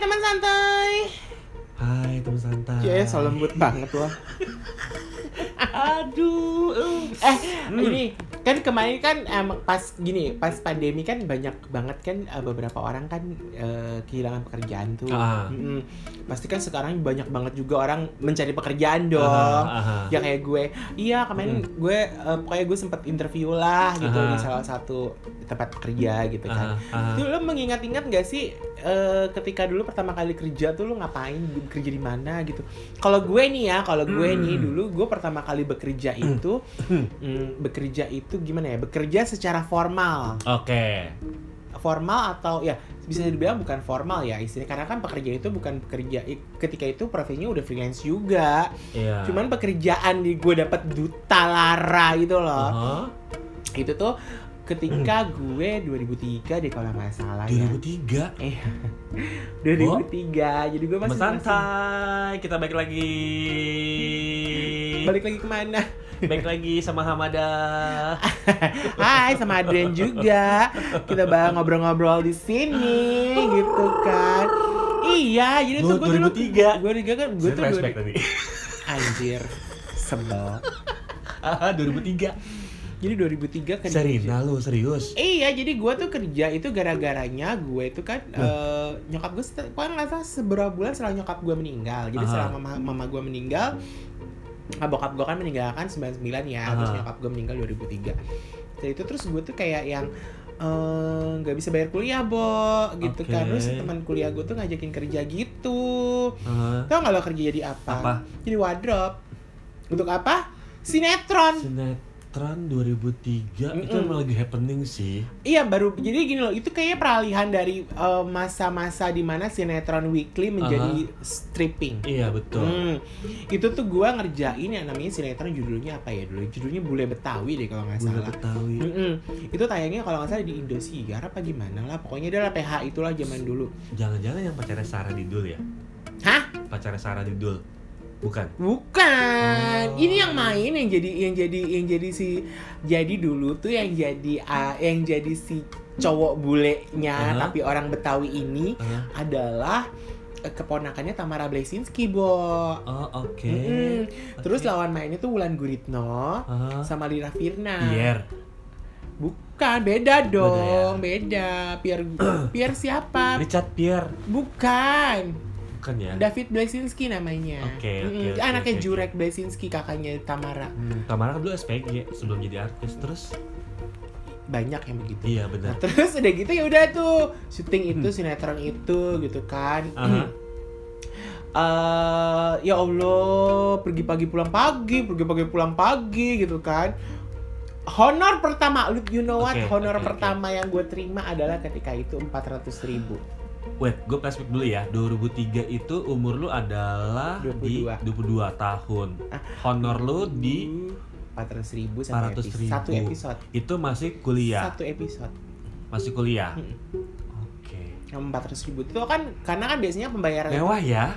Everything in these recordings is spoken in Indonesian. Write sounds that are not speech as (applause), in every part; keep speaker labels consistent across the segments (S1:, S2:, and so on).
S1: teman santai.
S2: Hai teman santai.
S1: Ya, so lembut banget loh.
S2: Aduh.
S1: Eh, ini kan kemarin kan em, pas gini, pas pandemi kan banyak banget kan eh, beberapa orang kan eh, kehilangan pekerjaan tuh.
S2: Ah.
S1: Mm-mm. Pasti kan sekarang banyak banget juga orang mencari pekerjaan
S2: ah,
S1: dong.
S2: Aha, aha.
S1: Ya kayak gue, iya kemarin gue eh, pokoknya gue sempat interview lah gitu
S2: Aha.
S1: di salah satu tempat kerja gitu kan.
S2: Aha, aha.
S1: Itu lo mengingat-ingat gak sih eh, ketika dulu pertama kali kerja tuh lo ngapain kerja di mana gitu? Kalau gue nih ya, kalau gue
S2: Hmm.
S1: nih dulu gue pertama kali bekerja itu mm, bekerja itu gimana ya? Bekerja secara formal,
S2: Oke.
S1: formal atau ya bisa dibilang bukan formal ya istilahnya karena kan pekerja itu bukan pekerja ketika itu profesinya udah freelance juga.
S2: Iya.
S1: Cuman pekerjaan di gue dapat duta lara gitu loh.
S2: Aha.
S1: Itu tuh ketika gue 2003 deh kalau nggak salah ya.
S2: 2003.
S1: Eh, (laughs) 2003. Jadi gue
S2: Teman
S1: masih, masih
S2: santai. Kita balik lagi.
S1: balik lagi kemana? (laughs)
S2: Balik lagi sama Hamada.
S1: Ah, Hai, sama Adrian juga. Kita bakal ngobrol-ngobrol di sini, gitu kan? Iya, jadi tuh
S2: Gua
S1: gue dulu
S2: 2003.
S1: Gue juga kan, gue
S2: Saya
S1: tuh
S2: flashback
S1: (laughs)
S2: tadi.
S1: dua- anjir, sebel.
S2: Aha, 2003.
S1: Jadi 2003 kerja.
S2: Serina lu serius?
S1: Iya, jadi gue tuh kerja itu gara-garanya gue itu kan eh, nyokap gue, setel- gua nggak salah seberapa bulan setelah nyokap gue meninggal. Jadi
S2: Aha.
S1: setelah mama, mama gue meninggal, ah, bokap gue kan meninggalkan 99 ya, terus
S2: Aha.
S1: nyokap gue meninggal 2003. Jadi itu terus gue tuh kayak yang eh, nggak bisa bayar kuliah, Bo, gitu
S2: Oke.
S1: kan. Terus teman kuliah gue tuh ngajakin kerja gitu.
S2: Aha.
S1: Tau nggak lo kerja jadi apa?
S2: Apa?
S1: Jadi wardrobe. Untuk apa? Sinetron.
S2: Sinetron 2003 itu
S1: Mm-mm.
S2: emang lagi happening sih.
S1: Iya baru jadi gini loh itu kayaknya peralihan dari eh, masa-masa di mana sinetron weekly menjadi stripping.
S2: Iya betul.
S1: Hmm. Itu tuh gua ngerjain yang namanya sinetron judulnya apa ya dulu? Judulnya Bule Betawi deh kalau nggak
S2: Bule
S1: salah.
S2: Betawi.
S1: Mm-mm. Itu tayangnya kalau nggak salah di Indosiar apa gimana lah. Pokoknya adalah PH itulah zaman dulu.
S2: Jangan-jangan yang pacarnya Sarah Didul ya?
S1: Hah?
S2: Pacarnya Sarah Didul. Bukan.
S1: Bukan.
S2: Oh.
S1: Ini yang main yang jadi yang jadi yang jadi si jadi dulu tuh yang jadi ah, yang jadi si cowok bulenya
S2: Aha.
S1: tapi orang Betawi ini
S2: Ah,
S1: adalah eh, keponakannya Tamara Blesinski, Bo.
S2: oh oke.
S1: Mm-mm. Terus
S2: Oke.
S1: lawan mainnya tuh Wulan Guritno
S2: Ah,
S1: sama Lira Firna.
S2: Pierre.
S1: Bukan,
S2: ya.
S1: beda dong, beda. Pierre
S2: (clears throat)
S1: Pierre siapa?
S2: Richard Pierre.
S1: Bukan.
S2: Bukan ya?
S1: David Blesinski namanya.
S2: Oke, oke,
S1: Mm-mm.
S2: oke,
S1: Anaknya
S2: oke, oke.
S1: Jurek Blesinski, kakaknya Tamara.
S2: Hmm, Tamara kan dulu SPG sebelum jadi artis terus
S1: Banyak yang begitu.
S2: iya
S1: Nah,
S2: benar
S1: terus udah gitu ya udah tuh syuting itu sinetron itu gitu kan.
S2: Hmm. Aha.
S1: eh ya Allah, pergi pagi pulang pagi, pergi pagi pulang pagi gitu kan. Honor pertama, lu you know what?
S2: Oke,
S1: Honor
S2: oke, oke.
S1: pertama yang gue terima adalah ketika itu 400.000 ribu.
S2: wait gue flashback dulu ya 2003 itu umur lu adalah di 22 tahun honor lu di
S1: 400 ribu satu
S2: 400.000.
S1: episode. Satu episode.
S2: itu masih kuliah
S1: Satu episode.
S2: masih kuliah
S1: Mm-mm.
S2: oke
S1: Yang 400 ribu itu kan, karena kan biasanya pembayaran.
S2: mewah (laughs) ya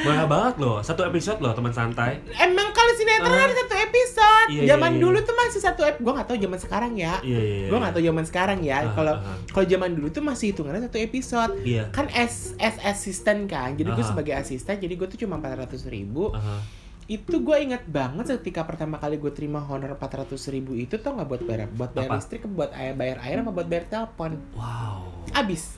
S2: mewah banget loh satu episode loh teman santai
S1: Emang kalau sinetron
S2: Ah.
S1: ada satu episode.
S2: Iya, iya,
S1: zaman
S2: iya.
S1: dulu tuh masih satu episode. Gue gak tau zaman sekarang ya.
S2: iya iya iya.
S1: Gue gak tau zaman sekarang ya.
S2: Ah,
S1: Kalau
S2: ah, ah.
S1: kalau zaman dulu tuh masih hitungannya satu episode.
S2: iya
S1: kan as as asisten kan jadi gue
S2: Aha.
S1: sebagai asisten jadi gue tuh cuma 400.000 ribu
S2: Aha.
S1: itu gue ingat banget ketika pertama kali gue terima honor 400.000 ribu itu tau nggak buat bayar buat bayar
S2: Apa?
S1: listrik buat air bayar air apa buat bayar telepon
S2: wow
S1: abis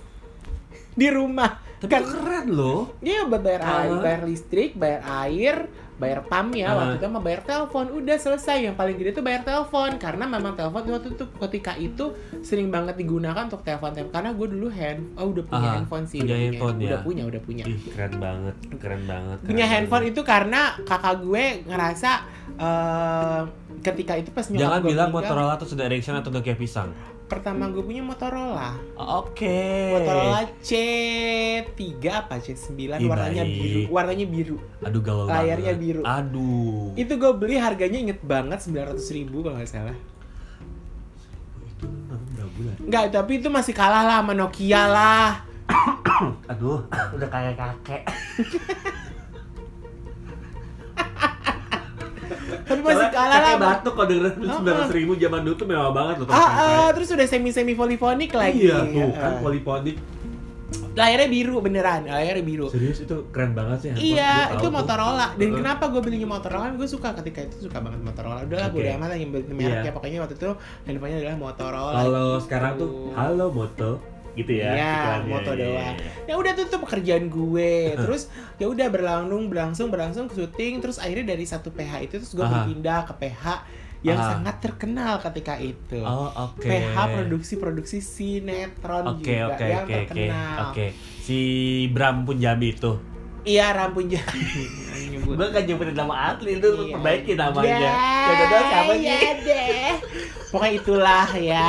S1: di rumah
S2: tapi
S1: Kan-
S2: itu keren loh
S1: dia Iya, buat bayar
S2: Aha.
S1: air bayar listrik bayar air bayar pam ya
S2: Aha.
S1: waktu itu sama bayar telepon udah selesai yang paling gede tuh bayar telepon karena memang telepon waktu itu ketika itu sering banget digunakan untuk telepon telepon karena gue dulu hand oh udah punya
S2: Aha,
S1: handphone sih
S2: Ah, punya
S1: udah
S2: handphone
S1: punya,
S2: ya.
S1: udah punya udah punya
S2: Ih, keren banget keren banget keren
S1: punya handphone
S2: banget.
S1: itu karena kakak gue ngerasa eh, ketika itu pas nyokap
S2: jangan
S1: gue
S2: bilang
S1: meninggal,
S2: Motorola tuh sudah erection atau Nokia pisang
S1: pertama gue punya Motorola
S2: Oke.
S1: Motorola C3 apa C9
S2: Ih,
S1: warnanya
S2: baik.
S1: biru warnanya biru
S2: Aduh galau
S1: Layarnya
S2: banget.
S1: biru.
S2: Aduh.
S1: itu gue beli harganya inget banget 900 ribu kalau nggak salah
S2: Itu enam berapa bulan?
S1: nggak tapi itu masih kalah lah sama Nokia lah
S2: Aduh, (laughs) udah kayak kakek.
S1: tapi masih kalah lah
S2: kakek
S1: sama-
S2: batuk kalau
S1: (laughs)
S2: dengerin
S1: Ah, ah.
S2: sembilan ribu zaman dulu tuh mewah banget loh.
S1: ah,
S2: teman-teman.
S1: ah, terus udah semi semi polifonik lagi
S2: Iya tuh kan
S1: Ah.
S2: poliponik
S1: layarnya biru beneran layarnya biru
S2: Serius itu keren banget sih handphone. Gua
S1: Iya,
S2: tahu
S1: itu
S2: tuh.
S1: Motorola. Dan
S2: Heeh.
S1: kenapa gue belinya Motorola? Gue suka ketika itu suka banget Motorola. Udah lah,
S2: Oke.
S1: bodo amat yang beli merek
S2: Iya.
S1: ya. Pokoknya waktu itu handphonenya adalah Motorola.
S2: Kalau
S1: gitu.
S2: sekarang tuh halo moto gitu ya.
S1: Iya,
S2: iklannya.
S1: moto
S2: Iya, iya,
S1: doang.
S2: iya.
S1: Ya udah tuh, tuh pekerjaan
S2: (laughs)
S1: gue. Terus ya udah berlangsung berlangsung berlangsung ke syuting. Terus akhirnya dari satu PH itu terus gue
S2: Aha.
S1: berpindah ke PH yang
S2: Aha.
S1: sangat terkenal ketika itu.
S2: Oh, oke.
S1: PH produksi-produksi sinetron
S2: Oke,
S1: juga
S2: oke,
S1: yang
S2: oke, oke.
S1: terkenal.
S2: Oke. Si Bram Punjabi itu.
S1: Iya, Rampun Jaya. (laughs) Nyebut.
S2: Gue kan nyebutin nama atlet itu
S1: Iya.
S2: perbaiki namanya.
S1: Ya,
S2: Yang kedua siapa
S1: ya
S2: sih?
S1: deh. Pokoknya itulah ya.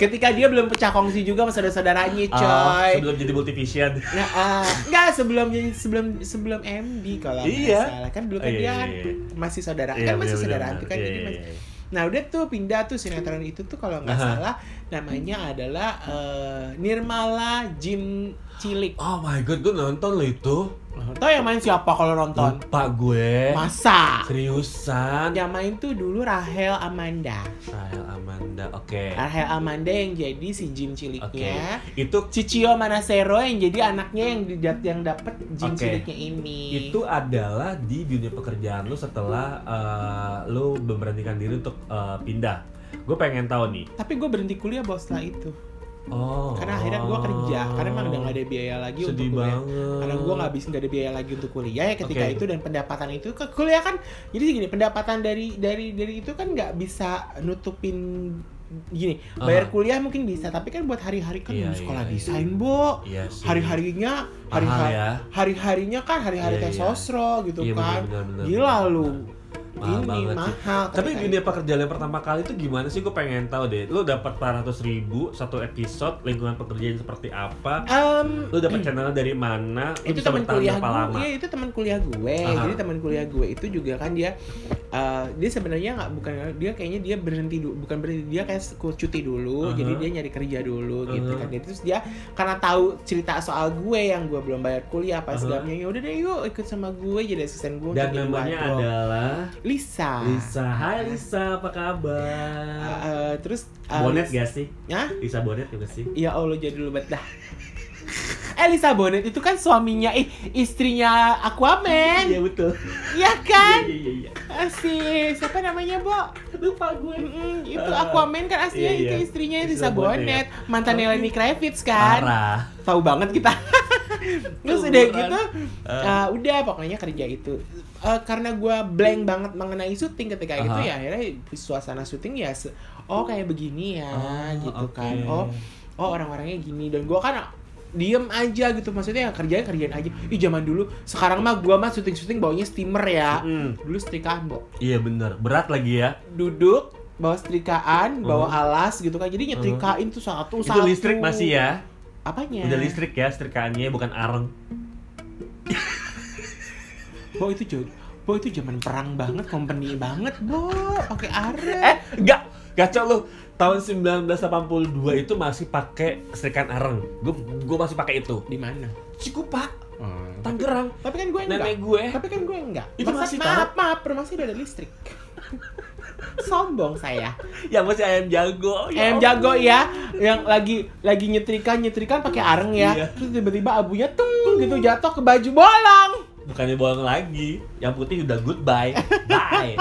S1: Ketika dia belum pecah kongsi juga sama saudara-saudaranya,
S2: Oh,
S1: Iya, coy.
S2: sebelum jadi multivision.
S1: Nah, ah, enggak sebelum jadi sebelum sebelum MD kalau nggak
S2: Iya.
S1: salah. Kan dulu
S2: Oh,
S1: kan
S2: iya,
S1: dia
S2: iya,
S1: kan
S2: iya.
S1: masih saudara,
S2: Iya,
S1: kan masih
S2: benar-benar.
S1: saudara itu kan
S2: Iya,
S1: jadi
S2: iya,
S1: masih-
S2: iya.
S1: Nah, udah tuh pindah tuh sinetron itu tuh kalau nggak
S2: Aha.
S1: salah namanya adalah eh, Nirmala Jim Cilik.
S2: Oh my god, gue nonton lo itu.
S1: Tahu yang main siapa kalau nonton?
S2: Lupa gue.
S1: Masa.
S2: Seriusan.
S1: Yang main tuh dulu Rahel Amanda.
S2: Rahel Amanda, oke.
S1: Rahel Amanda yang jadi si Jim ciliknya.
S2: Itu
S1: Cicio Manasero yang jadi anaknya yang didat yang dapat Jim
S2: Oke.
S1: ciliknya ini.
S2: itu adalah di dunia pekerjaan lu setelah eh, lu memberanikan diri untuk eh, pindah. Gue pengen tahu nih.
S1: Tapi gue berhenti kuliah bos setelah itu.
S2: Oh.
S1: Karena akhirnya gue kerja. Karena emang udah gak ada biaya lagi untuk
S2: Sedih
S1: kuliah.
S2: banget.
S1: Karena gue nggak bisa nggak ada biaya lagi untuk kuliah ya ketika
S2: Oke.
S1: itu dan pendapatan itu ke kuliah kan. Jadi gini pendapatan dari dari dari itu kan nggak bisa nutupin gini bayar
S2: Aha.
S1: kuliah mungkin bisa tapi kan buat hari-hari kan
S2: Iya,
S1: di sekolah
S2: iya,
S1: desain bo
S2: Iya sih.
S1: hari-harinya hari
S2: Mahal ya.
S1: hari-harinya kan hari-hari
S2: Iya,
S1: tes
S2: iya.
S1: sosro gitu
S2: Iya,
S1: kan
S2: benar, benar, benar,
S1: gila
S2: benar.
S1: lu
S2: Mahal
S1: ini
S2: banget sih.
S1: mahal
S2: Tapi
S1: Ketika
S2: dunia pekerjaan yang pertama kali itu gimana sih? Gue pengen tahu deh. Lu dapat 400 ribu satu episode, lingkungan pekerjaan seperti apa?
S1: Em,
S2: Lu dapat channelnya dari mana? Lu
S1: Hmm. itu
S2: bisa
S1: teman
S2: bertahan
S1: kuliah
S2: berapa lama?
S1: gue iya, itu teman kuliah gue
S2: Aha.
S1: jadi teman kuliah gue itu juga kan dia eh, dia sebenarnya nggak bukan dia kayaknya dia berhenti dulu bukan berhenti dia kayak sku- cuti dulu
S2: Aha.
S1: jadi dia nyari kerja dulu gitu
S2: Aha.
S1: kan Jadi terus dia karena tahu cerita soal gue yang gue belum bayar kuliah apa
S2: Aha.
S1: segalanya ya udah deh yuk ikut sama gue jadi asisten gue
S2: Dan
S1: untuk jadi Ah.
S2: namanya
S1: wardrobe.
S2: adalah
S1: Lisa,
S2: Lisa. Hai Lisa, apa kabar?
S1: Eh, eh, terus eh,
S2: Bonet gak sih?
S1: Hah?
S2: Lisa Bonet gak sih?
S1: Ya Allah jadi lu dah. Elisa Bonet itu kan suaminya, eh istrinya Aquaman,
S2: Iya betul.
S1: ya
S2: Iya
S1: kan?
S2: iya iya.
S1: Eh, Si siapa namanya, Bo?
S2: Lupa gue.
S1: Mm-mm, itu
S2: Ah.
S1: Aquaman kan aslinya
S2: Iya,
S1: itu
S2: iya.
S1: istrinya Elisa
S2: Elisa
S1: Bonet,
S2: Bonet.
S1: mantannya Lenny Kravitz kan?
S2: Parah.
S1: Tahu banget
S2: (laughs)
S1: kita. Terus udah
S2: Tuh, beneran.
S1: gitu,
S2: Eh.
S1: eh, udah pokoknya kerja itu. Eh, karena gua blank banget mengenai syuting ketika itu
S2: Aha.
S1: ya akhirnya suasana syuting ya se- oh kayak begini ya gitu kan.
S2: oke.
S1: Oh oh orang-orangnya gini dan gua kan diem aja gitu maksudnya ya kerjain kerjain aja ih zaman dulu sekarang mah gua mah syuting syuting baunya steamer ya
S2: Mm,
S1: dulu setrikaan Bo.
S2: Iya bener, berat lagi ya
S1: duduk bawa setrikaan bawa
S2: Mhm.
S1: alas gitu kan jadi nyetrikain tuh satu
S2: Itu
S1: satu Iya.
S2: listrik masih ya?
S1: apanya
S2: Udah listrik ya setrikaannya, bukan areng
S1: Bo itu jod Bo itu zaman perang banget company banget Bo pakai are
S2: Eh, enggak! Kacau lu Tahun 1982 itu masih pakai setrikaan areng Gue gue masih pakai itu
S1: di mana
S2: Cikupa,
S1: Hmm.
S2: Tangerang
S1: tapi kan gue enggak
S2: Nenek gue
S1: tapi kan gue enggak
S2: Itu
S1: Masa-
S2: masih
S1: maaf maaf rumah saya udah ada listrik sombong saya
S2: Yang Ya, masih ayam jago ya
S1: Em
S2: ampun.
S1: jago (laughs) ya, yang lagi lagi nyetrika nyetrikan pakai areng ya.
S2: Iya.
S1: Terus tiba-tiba abunya tung gitu jatuh ke baju bolong.
S2: Bukannya bohong lagi Yang putih udah goodbye
S1: (laughs)
S2: Bye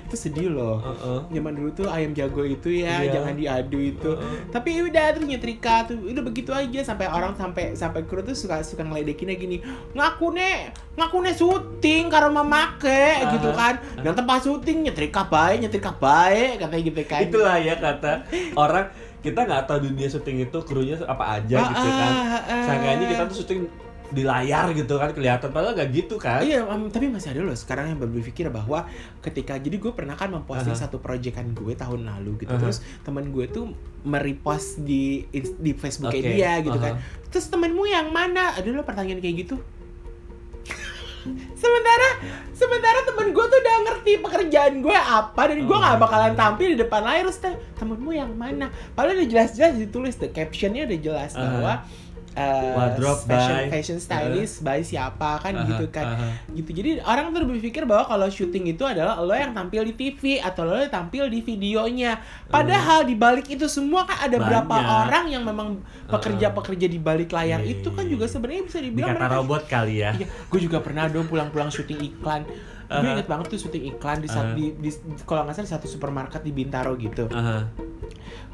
S1: Itu sedih loh.
S2: Heeh.
S1: Zaman dulu tuh ayam jago itu ya,
S2: Iya.
S1: jangan diadu itu.
S2: Heeh.
S1: Tapi ya udah terus nyetrika tuh udah begitu aja sampai orang sampai sampai kru tuh suka suka ngeledekinnya gini. Ngaku nih, ngaku nih syuting karena make
S2: Ah.
S1: gitu kan. Dan tempat syuting nyetrika baik, nyetrika baik katanya gitu kan.
S2: Itulah ya kata orang kita nggak tahu dunia syuting itu krunya apa aja
S1: Ah,
S2: gitu kan.
S1: ah, ah.
S2: Sangkanya kita tuh syuting di layar gitu kan kelihatan padahal nggak gitu kan.
S1: Iya, em, tapi masih ada loh sekarang yang berpikir bahwa ketika jadi gue pernah kan memposting
S2: Aha.
S1: satu proyekan gue tahun lalu gitu.
S2: Aha.
S1: Terus teman gue tuh merepost di ins- di Facebooknya
S2: Oke,
S1: dia gitu
S2: aha.
S1: kan. Terus temenmu yang mana? Ada lo pertanyaan kayak gitu. (laughs) sementara sementara temen gue tuh udah ngerti pekerjaan gue apa dan gue
S2: Oh.
S1: nggak bakalan tampil di depan layar terus tanya, temenmu yang mana padahal udah jelas-jelas ditulis the captionnya udah jelas
S2: Aha.
S1: bahwa eh,
S2: Wardrobe
S1: fashion
S2: by-
S1: fashion stylist by siapa kan
S2: Aha,
S1: gitu kan
S2: aha.
S1: gitu jadi orang tuh berpikir bahwa kalau syuting itu adalah lo yang tampil di TV atau lo yang tampil di videonya padahal di balik itu semua kan ada berapa
S2: Banyak.
S1: orang yang memang pekerja-pekerja di balik layar
S2: Iya,
S1: itu
S2: iya,
S1: kan
S2: iya.
S1: juga sebenarnya bisa dibilang
S2: Dikata
S1: mereka
S2: robot kali ya.
S1: Iya, gue juga pernah dong pulang-pulang syuting
S2: (laughs)
S1: iklan.
S2: Uh-huh.
S1: Gue inget banget tuh syuting iklan di, saat
S2: Aha.
S1: di, di kalau nggak salah di satu supermarket di Bintaro gitu.
S2: Aha,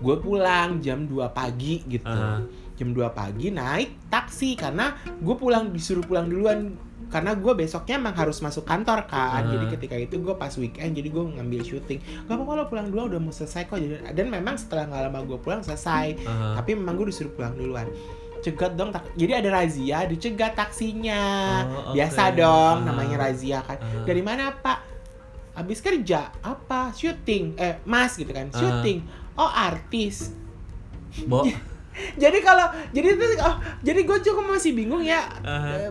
S1: Gue pulang jam 2 pagi gitu.
S2: Aha.
S1: Jam 2 pagi naik taksi karena gue pulang disuruh pulang duluan karena gue besoknya emang harus masuk kantor kan
S2: Aha.
S1: jadi ketika itu gue pas weekend jadi gue ngambil syuting gak apa-apa lo pulang duluan udah mau selesai kok Jadi- dan memang setelah nggak lama gue pulang selesai
S2: aha.
S1: tapi memang gue disuruh pulang duluan cegat dong tak- jadi ada razia dicegat taksinya
S2: Oh, oke.
S1: ya, biasa dong
S2: Ah.
S1: namanya razia kan
S2: Ah.
S1: dari mana pak habis kerja apa syuting eh mas gitu kan
S2: Ah.
S1: syuting oh artis
S2: Bo.
S1: jadi kalau jadi itu oh, jadi gue cukup masih bingung ya
S2: Ah.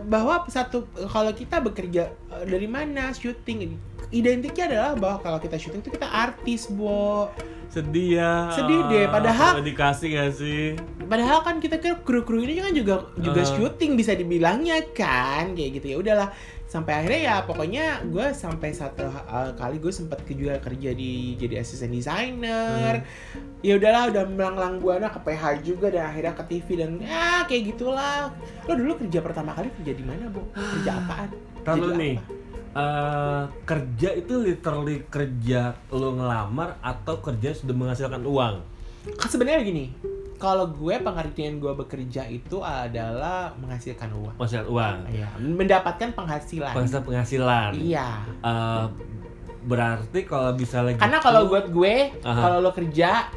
S1: eh, bahwa satu kalau kita bekerja eh, dari mana syuting identiknya adalah bahwa kalau kita syuting itu kita artis bo
S2: Sedih ya.
S1: Sedih deh, padahal-
S2: Nggak dikasih nggak sih?
S1: Padahal kan kita kira kru-kru ini kan juga juga
S2: Ah.
S1: syuting bisa dibilangnya kan kayak gitu ya udahlah sampai akhirnya ya pokoknya gue sampai satu uh, kali gue sempat ke- juga kerja di jadi asisten designer
S2: Hmm.
S1: ya udahlah udah melanglang buana ke PH juga dan akhirnya ke TV dan ah kayak gitulah lo dulu kerja pertama kali kerja di mana bu kerja apaan
S2: Tahu
S1: Jadi
S2: nih.
S1: apa?
S2: eh, kerja itu literally kerja lo ngelamar atau kerja sudah menghasilkan uang.
S1: Kan sebenarnya gini kalau gue pengertian gue bekerja itu adalah menghasilkan uang
S2: Menghasilkan uang.
S1: ya mendapatkan penghasilan
S2: Penghasilan penghasilan.
S1: iya
S2: Eh, berarti kalau gitu- bisa lagi
S1: Karena kalau buat gue,
S2: Iya. Aha.
S1: kalau lo kerja,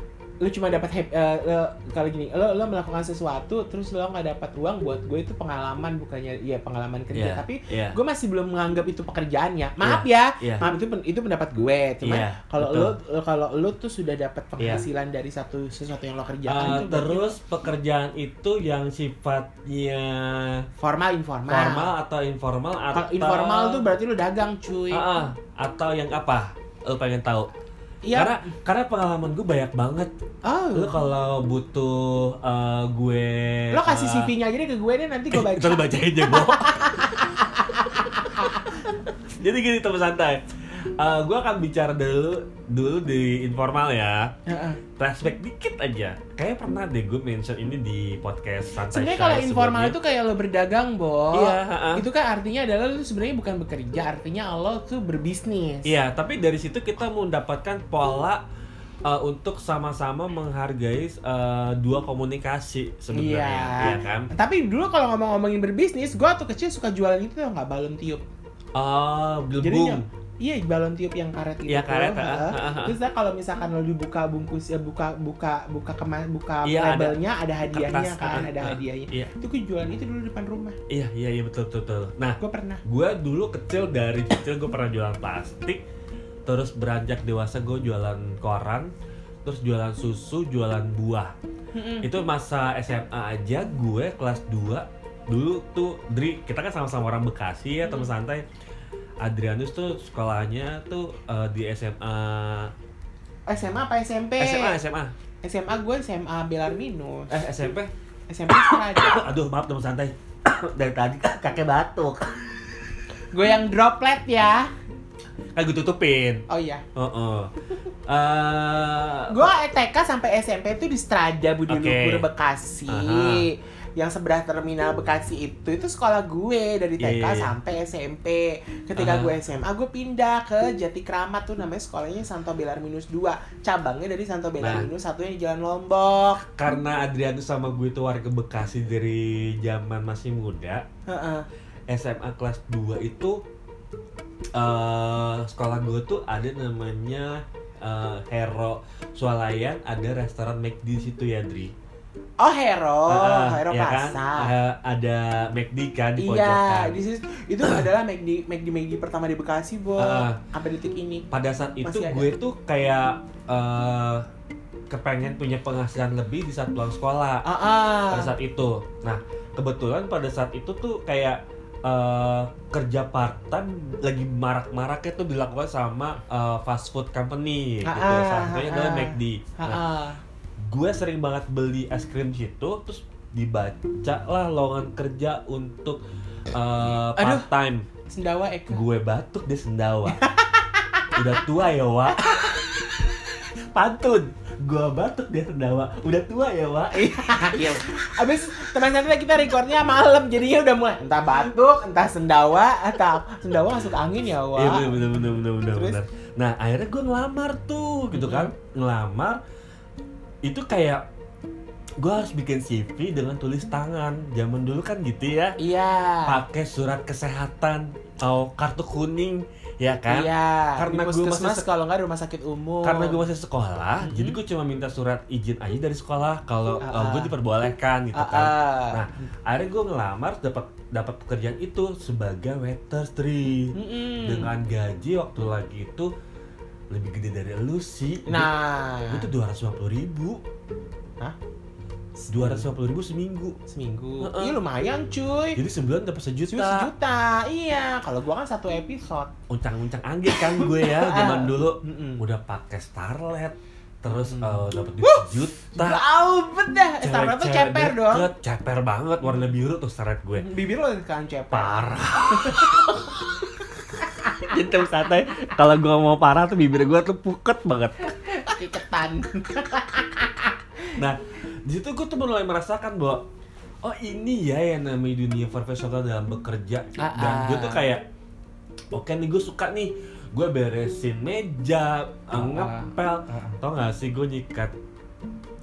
S1: lo cuma dapat hap- eh, lo- kalau gini, lo lo melakukan sesuatu terus lo nggak dapat uang buat gue itu pengalaman bukannya ya pengalaman kerja,
S2: Iya,
S1: tapi
S2: iya.
S1: gue masih belum menganggap itu pekerjaan ya. Maaf ya.
S2: iya.
S1: Maaf itu pen- itu pendapat gue, cuma
S2: Iya,
S1: kalau
S2: betul.
S1: lo kalau lo tuh sudah dapat
S2: Iya.
S1: penghasilan dari satu sesuatu yang lo kerjakan
S2: Eh,
S1: itu berarti
S2: terus pekerjaan itu yang sifatnya
S1: formal informal.
S2: formal atau informal atau
S1: Kalau Nah. Ah, informal tuh berarti lo dagang, cuy.
S2: Ah, ah. atau yang apa? Lo pengen tahu?
S1: Iya.
S2: Karena karena pengalaman gue banyak banget.
S1: Oh.
S2: Lo kalau butuh eh, gue
S1: Lo kasih
S2: eh,
S1: CV-nya aja deh ke gue deh nanti gue baca.
S2: Ntar lu bacain aja, Bo. (laughs) Jadi gini teman santai. Eh, gue akan bicara dulu dulu di informal ya.
S1: Heeh.
S2: Flashback dikit aja. Kayaknya pernah deh gue mention ini di podcast santai.
S1: Sebenarnya
S2: Shy
S1: kalau informal
S2: sebelumnya.
S1: itu kayak lo berdagang, Bo.
S2: Iya, ha-ha.
S1: Itu kan artinya adalah lo sebenarnya bukan bekerja, artinya lo tuh berbisnis.
S2: Iya, tapi dari situ kita mendapatkan pola eh, untuk sama-sama menghargai eh, dua komunikasi sebenarnya, iya kan?
S1: Tapi dulu kalau ngomong-ngomongin berbisnis, gua tuh kecil suka jualan itu tau nggak balon tiup.
S2: Oh,
S1: Jadinya
S2: gelembung.
S1: Iya, balon tiup yang karet gitu.
S2: Iya, karet,
S1: Heeh.
S2: ha-ha, ha-ha.
S1: Terus nah, kalau misalkan lo dibuka bungkus ya buka buka buka kema, buka
S2: Iya, ada
S1: labelnya ada, hadiahnya
S2: Kertas,
S1: kan,
S2: ha-ha.
S1: ada hadiahnya.
S2: Iya.
S1: Itu gue jualan itu dulu depan rumah.
S2: Iya, iya, iya betul, betul, betul. Nah,
S1: Gue pernah.
S2: gue dulu kecil dari kecil gue pernah jualan plastik terus beranjak dewasa gue jualan koran terus jualan susu jualan buah
S1: Eh,
S2: itu masa SMA aja gue kelas 2 dulu tuh Dri kita kan sama-sama orang Bekasi ya teman santai Adrianus tuh sekolahnya tuh eh, di SMA
S1: SMA apa SMP?
S2: SMA SMA
S1: SMA gue SMA Belarminus.
S2: eh SMP
S1: SMP Serada.
S2: aduh maaf teman santai (coughs) dari tadi (coughs) kakek batuk
S1: Gue yang droplet ya.
S2: kan gue tutupin
S1: Oh iya.
S2: oh, oh. Eh,
S1: Gue TK sampai SMP itu di Strada Budi
S2: Oke.
S1: Luhur Bekasi.
S2: Aha.
S1: Yang sebelah terminal Bekasi itu itu sekolah gue dari
S2: Iya,
S1: TK
S2: iya, iya.
S1: sampai SMP. Ketika
S2: Aha.
S1: gue SMA, gue pindah ke Jati Kramat tuh namanya sekolahnya Santo Belarminus 2. Cabangnya dari Santo
S2: Nah.
S1: Belarminus satunya di Jalan Lombok.
S2: karena Adrianus sama gue itu warga Bekasi dari zaman masih muda
S1: Heeh.
S2: SMA kelas 2 itu eh sekolah gue tuh ada namanya eh, Hero Swalayan ada restoran McD di situ ya Dri
S1: Oh Hero,
S2: Ah,
S1: Hero
S2: ya kan?
S1: Pasar.
S2: Eh, ada McD kan di
S1: Iya,
S2: pojokan
S1: di situ- itu
S2: (clears throat)
S1: adalah McD McD McD pertama di Bekasi, Bo.
S2: Ah.
S1: Sampai detik ini.
S2: pada saat itu
S1: Masih ada.
S2: gue tuh kayak eh, kepengen punya penghasilan lebih di saat pulang sekolah
S1: Ah,
S2: pada
S1: ah.
S2: saat itu. Nah, kebetulan pada saat itu tuh kayak eh, kerja part time lagi marak-maraknya tuh dilakukan sama eh, fast food company
S1: Ah,
S2: gitu.
S1: ah,
S2: Salah satunya
S1: ah,
S2: adalah
S1: ah.
S2: McD.
S1: Ah,
S2: Nah,
S1: ah.
S2: gue sering banget beli es krim situ terus dibaca lah lowongan kerja untuk eh,
S1: Aduh.
S2: part time
S1: Sendawa Eka.
S2: gue batuk dia
S1: (laughs)
S2: sendawa udah tua ya wa pantun gue batuk dia sendawa udah tua ya wa
S1: (laughs) Iya. Abis teman-teman kita recordnya malam jadinya udah mulai entah batuk, entah sendawa, atau sendawa masuk angin ya,
S2: Iya
S1: Wak.
S2: bener bener bener bener bener,
S1: Terus? Mm-hmm.
S2: bener. Nah akhirnya gue ngelamar tuh gitu kan Ngelamar Itu kayak Gue harus bikin CV dengan tulis tangan Zaman dulu kan gitu ya
S1: Iya.
S2: pakai surat kesehatan Atau kartu kuning Ya kan
S1: Iya.
S2: Karena
S1: Di
S2: gua
S1: puskesmas
S2: masih-
S1: kalau nggak rumah sakit umum.
S2: Karena gue masih sekolah
S1: Mhm.
S2: Jadi gue cuma minta surat izin aja dari sekolah Kalau
S1: Ah, ah.
S2: gue diperbolehkan gitu
S1: Ah,
S2: kan
S1: ah.
S2: Nah, akhirnya gue ngelamar dapat dapat pekerjaan itu sebagai waiter Tri
S1: Mm-mm.
S2: dengan gaji waktu lagi itu lebih gede dari lu sih
S1: Nah,
S2: Gua- gua tuh dua ribu
S1: Hah?
S2: dua ribu seminggu
S1: seminggu.
S2: Heeh.
S1: Iya lumayan cuy.
S2: jadi sebulan dapat
S1: Cuy
S2: sejuta
S1: sejuta. Iya, kalau gua kan satu episode.
S2: uncang-uncang anggit kan gue (laughs) ya zaman dulu
S1: Mm-mm.
S2: udah pakai starlet terus
S1: Hmm.
S2: eh, dapat duit sejuta
S1: Gaubet dah. Starlet tuh
S2: Cewek-cewek
S1: ceper dong.
S2: deket, ceper banget warna biru tuh starlet gue
S1: Bibir lo kan ceper.
S2: (laughs) parah Jentuh sate eh. kalau gue mau parah tuh bibir gue tuh puket banget
S1: Kiketan.
S2: Nah, di situ gue tuh mulai merasakan bahwa oh ini ya yang namanya dunia profesional dalam bekerja
S1: Ah,
S2: dan
S1: ah.
S2: gue tuh kayak oke nih gue suka nih gue beresin meja
S1: Ah,
S2: ngepel tau gak sih gue nyikat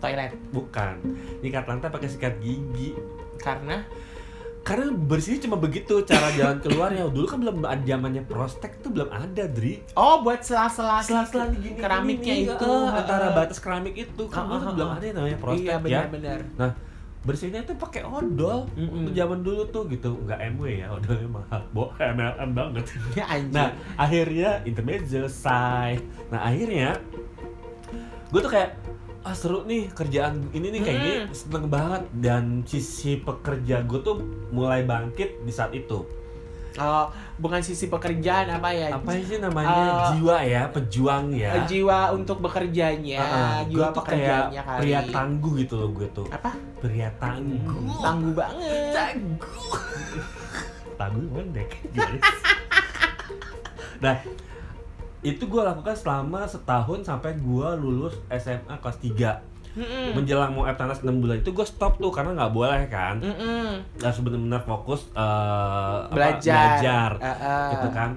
S1: Toilet.
S2: bukan nyikat lantai pakai sikat gigi
S1: Karena
S2: karena bersihnya cuma begitu cara jalan keluarnya dulu kan belum ada zamannya prostek tuh belum ada dri
S1: Oh, buat sela-sela
S2: sela-sela gini
S1: keramiknya
S2: gini,
S1: itu,
S2: eh,
S1: eh.
S2: antara batas keramik itu kan
S1: Ah, ah,
S2: dulu tuh
S1: ah,
S2: belum
S1: ah.
S2: ada yang namanya prostek
S1: Iya
S2: ya
S1: benar-benar.
S2: bersihnya itu pakai odol
S1: Mm-mm.
S2: zaman dulu tuh gitu nggak MW ya (laughs) odolnya mahal bo (laughs) MLM
S1: (laughs)
S2: banget
S1: Ya anjing.
S2: nah akhirnya intermezzo selesai nah akhirnya gue tuh kayak ah seru nih kerjaan ini nih kayaknya
S1: Hmm.
S2: seneng banget dan sisi pekerja gue tuh mulai bangkit di saat itu
S1: Oh, bukan sisi pekerjaan apa ya?
S2: apa sih namanya
S1: Ah.
S2: jiwa ya pejuang ya
S1: Eh, Jiwa untuk bekerjanya,
S2: Ah, ah. Gua
S1: ya, jiwa
S2: tuh kayak
S1: pekerjaannya kali.
S2: pria tangguh gitu loh gue tuh
S1: Apa?
S2: pria tangguh
S1: Tangguh banget.
S2: Tangguh. Tangguh pendek, guys. nah, itu gue lakukan selama setahun sampai gue lulus SMA kelas 3
S1: Mm-mm.
S2: Menjelang mau Eptanas 6 bulan itu gue stop tuh karena nggak boleh kan
S1: Mm-mm.
S2: Harus bener-bener fokus eh, apa,
S1: Belajar.
S2: belajar
S1: Eh, eh.
S2: gitu kan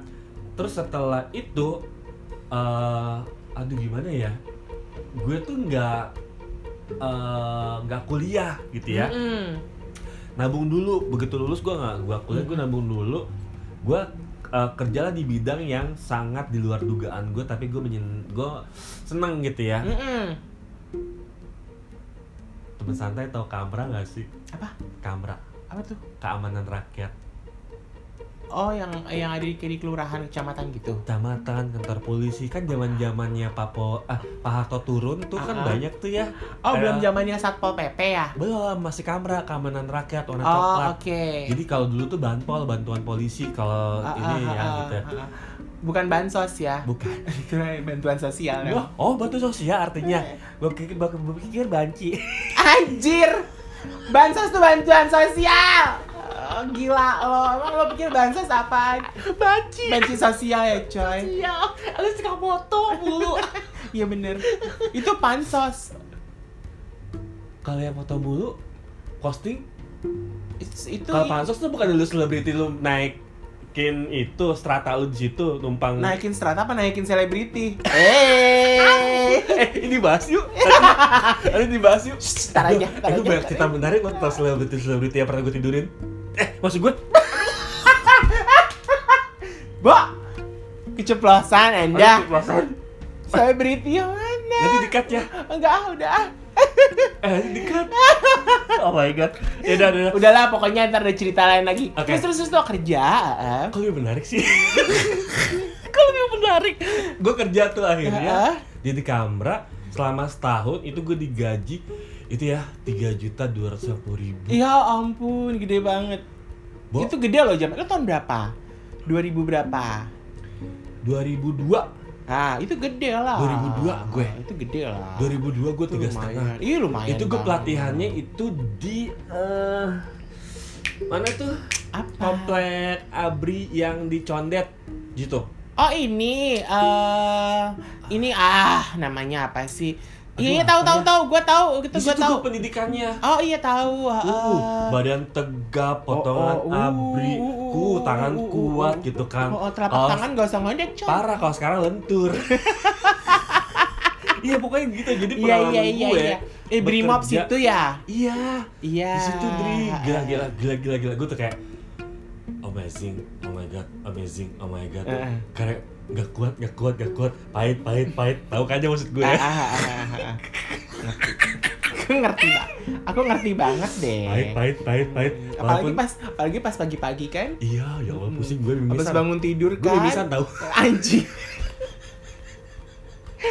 S2: Terus setelah itu eh Aduh gimana ya Gue tuh nggak eh, nggak kuliah gitu ya
S1: Mm-mm.
S2: nabung dulu begitu lulus gua nggak gua
S1: Hmm.
S2: kuliah gua nabung dulu gua eh, kerjalah di bidang yang sangat di luar dugaan gua tapi gua menyen gua seneng gitu ya
S1: Mm-mm.
S2: temen santai tau kamera nggak sih
S1: Apa?
S2: kamera
S1: Apa tuh?
S2: keamanan rakyat
S1: Oh, yang yang ada di, di kelurahan kecamatan gitu.
S2: kecamatan kantor polisi kan zaman zamannya papo ah pak harto turun tuh kan
S1: Ah.
S2: banyak tuh ya
S1: Oh,
S2: Eh.
S1: belum zamannya Satpol PP ya?
S2: belum masih kamera keamanan rakyat warna coklat
S1: Oh, oke.
S2: jadi kalau dulu tuh banpol bantuan polisi kalau
S1: Ah, ah,
S2: ini ya
S1: ah,
S2: gitu ya.
S1: ah, ah. Bukan bansos ya.
S2: bukan
S1: Itu bantuan sosial. kan?
S2: Wah, oh batu sosial artinya
S1: Iya.
S2: gue pikir gue pikir banci
S1: Anjir. Bansos tuh bantuan sosial. Oh, gila lo. Emang lo pikir bansos apaan?
S2: banci
S1: Benci sosial ya, coy.
S2: ya lu suka foto mulu
S1: Iya bener. Itu pansos.
S2: kalau yang foto mulu posting
S1: It's- Itu
S2: kalau pansos tuh bukan lu selebriti lu naikin itu strata lu di situ numpang
S1: naikin strata apa naikin selebriti? Eh.
S2: (laughs) eh ini bahas
S1: (laughs)
S2: yuk Nanti- (laughs) nanti dibahas yuk
S1: Iya. Shh, Ntar aja, ntar
S2: itu
S1: aja,
S2: banyak
S1: ntar
S2: cerita menarik loh tentang selebriti selebriti yang pernah gue tidurin eh maksud gue
S1: aja. Bo. Keceplosan Anda.
S2: perasaan
S1: Selebriti yang mana?
S2: nanti dikat ya
S1: Enggak, ah, udah. ah.
S2: eh nanti
S1: (laughs)
S2: dikat oh my god ya udah udah, udah.
S1: Udahlah, pokoknya ntar ada cerita lain lagi.
S2: Oke.
S1: Terus terus terus lo kerja. eh.
S2: Kok lebih menarik
S1: (laughs)
S2: sih? Kok lebih menarik? Gue kerja tuh akhirnya
S1: Heeh.
S2: jadi kamera selama setahun itu gue digaji itu ya tiga juta dua ratus ribu.
S1: Ya ampun, gede banget.
S2: Bo.
S1: Itu gede loh jam. Lo tahun berapa? 2000 berapa?
S2: Dua ribu dua
S1: Ah, itu gede lah. Ah,
S2: 2002 gue.
S1: Itu gede lah.
S2: 2002 gue
S1: Itu
S2: tiga setengah.
S1: lumayan. Iya lumayan.
S2: Itu gue
S1: banget.
S2: pelatihannya itu di eh, mana tuh
S1: apa?
S2: komplek Abri yang di Condet gitu.
S1: Oh ini, eh ini ah namanya apa sih? Iya iya, tahu
S2: Aduh, apa
S1: tahu
S2: ya?
S1: tahu, gue tahu itu
S2: Di
S1: gue
S2: situ
S1: tahu.
S2: gue pendidikannya.
S1: Oh iya tahu. ah,
S2: Uh,
S1: ah.
S2: badan tegap, potongan
S1: oh, uh,
S2: abri, ku,
S1: uh, uh,
S2: tangan
S1: uh, uh, uh,
S2: kuat
S1: uh.
S2: gitu kan.
S1: Oh, oh, telapak
S2: Kaos-
S1: tangan gak usah Iya, ngondek, coy.
S2: Parah kalau sekarang lentur. (laughs) Iya pokoknya gitu. Jadi
S1: Iya
S2: pengalaman
S1: iya iya
S2: gue.
S1: iya. Eh Brimob
S2: bekerja-
S1: situ ya?
S2: Iya.
S1: Iya. Ah,
S2: Di situ dri gila gila gila gila gila gue tuh kayak amazing, oh my god, amazing, oh my god.
S1: Heeh.
S2: Karena gak kuat, gak kuat, gak kuat, pahit, pahit, pahit. Tahu kan aja maksud gue
S1: Ah,
S2: ya?
S1: ah, ah, ah, ah. Aku ngerti, Pak. Aku ngerti banget deh.
S2: Pahit, pahit, pahit, pahit.
S1: Apalagi
S2: Walaupun
S1: pas apalagi pas pagi-pagi kan?
S2: iya, ya Allah pusing gue
S1: Habis
S2: mimisan.
S1: bangun tidur
S2: Gue
S1: kan?
S2: mimisan tahu.
S1: Anjing.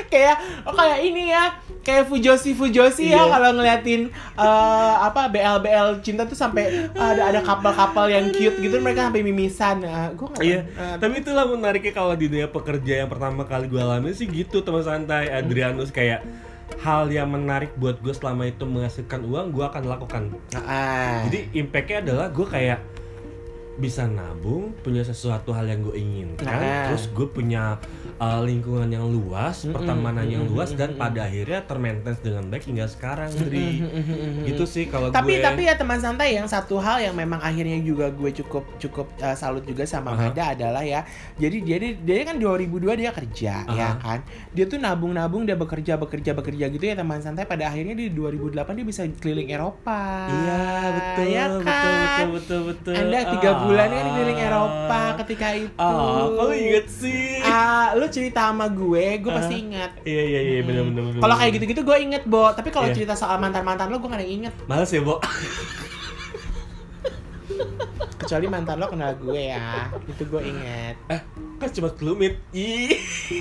S1: kayak oh kayak ini ya kayak fujosi fujosi ya
S2: Iya.
S1: kalau ngeliatin eh, apa BL BL cinta tuh sampai ada ada kapal-kapal yang cute gitu mereka sampai mimisan nah, gue nggak
S2: Iya,
S1: eh,
S2: tapi itulah menariknya kalau di dunia pekerja yang pertama kali gue alami sih gitu teman santai
S1: Hmm.
S2: Adrianus kayak hal yang menarik buat gue selama itu menghasilkan uang gue akan lakukan.
S1: ah.
S2: Jadi impactnya adalah gue kayak bisa nabung, punya sesuatu hal yang gue inginkan,
S1: Nah. Hmm,
S2: terus gue punya uh, lingkungan yang luas,
S1: Mm-mm,
S2: pertemanan yang
S1: mm-mm,
S2: luas dan
S1: mm-mm.
S2: pada akhirnya termaintain dengan baik hingga sekarang,
S1: Hmm,
S2: Dri.
S1: Mm-mm.
S2: Gitu sih kalau
S1: tapi
S2: gue.
S1: tapi ya teman santai yang satu hal yang memang akhirnya juga gue cukup cukup eh, salut juga sama
S2: Aha.
S1: Mada adalah ya jadi dia dia- dia kan 2002 dia kerja ya
S2: Aha.
S1: kan dia tuh nabung nabung dia bekerja bekerja bekerja gitu ya teman santai pada akhirnya di 2008 dia bisa keliling Eropa
S2: Iya betul,
S1: ya
S2: betul,
S1: kan
S2: betul betul betul.
S1: anda tiga bulan kan keliling
S2: Ah.
S1: Eropa ketika itu
S2: Ah, kok lu inget
S1: Oh.
S2: sih?
S1: Ah, lu cerita sama gue gue pasti
S2: Aha.
S1: ingat
S2: Iya iya iya benar benar benar.
S1: kalau kayak gitu- gitu-gitu gue inget, Bo. Tapi kalau
S2: Iya.
S1: cerita soal mantan-mantan lo, gue gak ada yang inget.
S2: Males ya, Bo.
S1: kecuali mantan lo kenal gue ya itu gue inget
S2: Eh, kan cuma kelumit. Ih.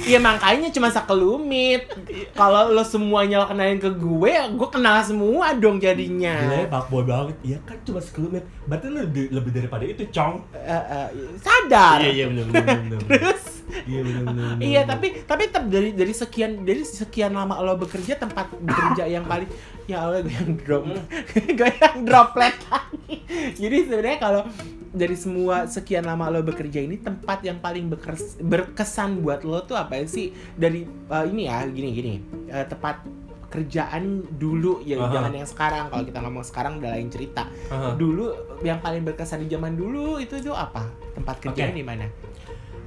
S1: iya makanya cuma sekelumit kalau lo semuanya lo kenalin ke gue ya gue kenal semua dong jadinya
S2: Gila ya, boy banget. Iya kan cuma sekelumit. Berarti lu lebih, lebih daripada itu, Cong.
S1: Eh, eh, sadar
S2: Iya iya benar benar benar.
S1: terus
S2: Iya benar benar. benar,
S1: Iya,
S2: benar.
S1: tapi tapi tetap dari dari sekian dari sekian lama lo bekerja tempat bekerja yang paling ya Allah gue yang drop
S2: Hmm.
S1: (laughs) gue yang droplet lagi. Jadi sebenarnya kalau dari semua sekian lama lo bekerja ini tempat yang paling bekers- berkesan buat lo tuh apa sih dari eh, ini ya gini gini eh, tempat kerjaan dulu ya
S2: Aha.
S1: jangan yang sekarang kalau kita ngomong sekarang udah lain cerita
S2: Aha.
S1: dulu yang paling berkesan di zaman dulu itu tuh apa tempat kerjaan
S2: Oke.
S1: di mana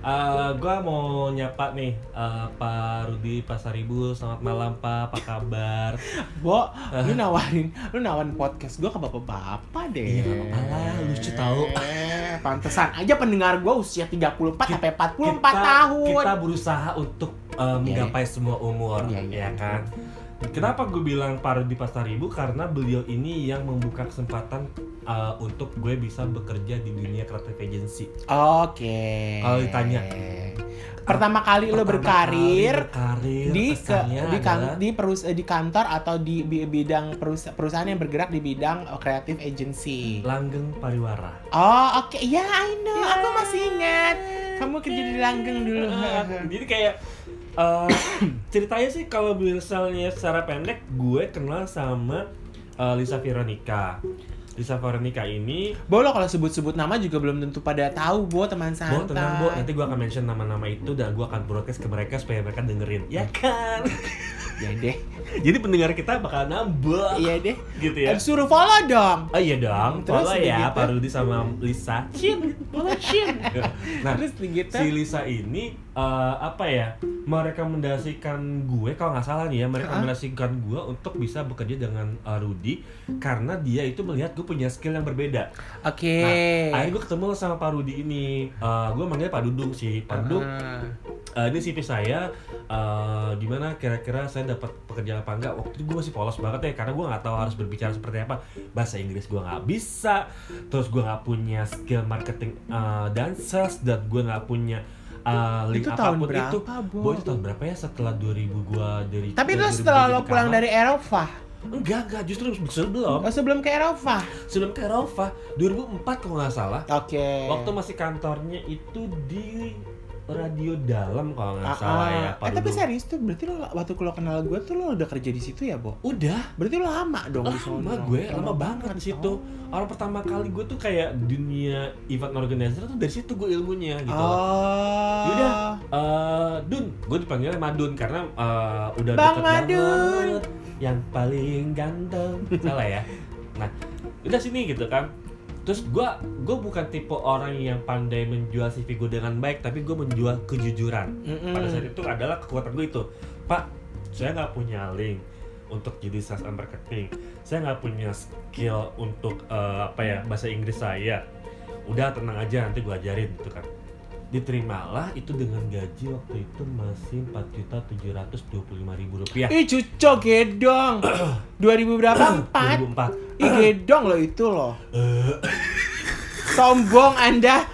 S2: Eh, gua mau nyapa nih eh, Pak Rudi Pasaribu. Selamat malam, Pak. Apa kabar?
S1: Bo, lu nawarin, lu nawarin podcast gue ke bapak-bapak deh.
S2: Iya, nggak apa-apa lah, lucu tau.
S1: Eh, Pantesan aja pendengar gue usia 34 sampai 44
S2: kita,
S1: tahun.
S2: Kita berusaha untuk eh, menggapai semua umur,
S1: Iya, iya.
S2: ya kan? Kenapa gue bilang Pak Rudi Pasaribu? Karena beliau ini yang membuka kesempatan eh, untuk gue bisa bekerja di dunia kreatif agency.
S1: Oke.
S2: Kalau ditanya.
S1: pertama kali lu
S2: Pertama
S1: berkarir
S2: kali berkarir
S1: di ke,
S2: kesannya
S1: di kan-
S2: adalah-
S1: di perus- di kantor atau di bi- bidang perus- perusahaan yang bergerak di bidang uh, creative agency.
S2: Langgeng Pariwara.
S1: Oh, oke. Ya, I know. Aku masih ingat. Kamu kerja di langgeng dulu.
S2: (laughs) Ah, Jadi kayak eh, ceritanya sih kalau misalnya secara pendek gue kenal sama eh, Lisa Veronica. Lisa Veronica ini
S1: Bo lo kalau sebut-sebut nama juga belum tentu pada tahu, Bo, teman santai.
S2: Bo tenang Bo, nanti gue akan mention nama-nama itu dan gue akan broadcast ke mereka supaya mereka dengerin
S1: Hmm.
S2: Ya kan? (laughs)
S1: Ya deh,
S2: Jadi pendengar kita bakal nambah
S1: iya deh.
S2: gitu ya
S1: Eh, Suruh follow dong.
S2: Oh iya dong,
S1: Terus
S2: follow
S1: udah
S2: ya
S1: gitu.
S2: Pak Rudi sama Lisa
S1: Shin, follow Shin. (laughs)
S2: Nah,
S1: Terus begitu.
S2: si Lisa ini eh, apa ya merekomendasikan gue kalau nggak salah nih ya merekomendasikan gue untuk bisa bekerja dengan eh, Rudy karena dia itu melihat gue punya skill yang berbeda.
S1: Oke.
S2: Akhirnya gue ketemu sama Pak Rudy ini, Eh, gue manggilnya Pak Dudung sih. Pak Dudung,
S1: Ah.
S2: eh, ini CV saya, eh, gimana kira-kira saya dapat pekerjaan apa enggak? Waktu itu gue masih polos banget ya, karena gue nggak tahu harus berbicara seperti apa. Bahasa Inggris gue nggak bisa, terus gue nggak punya skill marketing eh, dan sales, dan gue nggak punya eh, link
S1: Itu tahun
S2: apapun
S1: berapa,
S2: itu.
S1: Bo?
S2: Boy, itu tahun berapa ya setelah 2000 gue dari
S1: Tapi
S2: dari
S1: itu
S2: 2000
S1: setelah
S2: jadi
S1: lo pulang
S2: Kamar.
S1: dari Eropa.
S2: Enggak, enggak, justru sebelum
S1: Oh, sebelum ke Eropa.
S2: Sebelum ke Eropa, 2004 kalau nggak salah
S1: Oke.
S2: Waktu masih kantornya itu di radio dalam kalau nggak
S1: Ah,
S2: salah
S1: ah.
S2: ya
S1: eh,
S2: Pak
S1: tapi
S2: Dudung.
S1: serius tuh berarti lo waktu lo kenal gue tuh lo udah kerja di situ ya, Bo?
S2: udah
S1: Berarti lo lama dong di sono.
S2: lama gue lama banget di situ orang pertama kali gue tuh kayak dunia event organizer tuh dari situ gue ilmunya gitu loh.
S1: Oh.
S2: Yaudah. Eh, Dun, gue dipanggilnya Madun karena eh, udah
S1: Bang
S2: deket
S1: Madun.
S2: banget yang paling ganteng salah ya. Nah, udah sini gitu kan. Terus gue gue bukan tipe orang yang pandai menjual CV gue dengan baik, tapi gue menjual kejujuran.
S1: Mm-mm.
S2: Pada saat itu adalah kekuatan gue itu, Pak, saya nggak punya link untuk jadi sales and marketing. Saya nggak punya skill untuk eh, apa ya bahasa Inggris saya. Udah tenang aja nanti gue ajarin gitu kan diterimalah itu dengan gaji waktu itu masih 4 juta ribu rupiah
S1: Ih cuco gedong 2000
S2: (coughs)
S1: berapa? 4
S2: 2004
S1: Ih gedong lo itu lo
S2: Eh. (coughs)
S1: Sombong anda (coughs)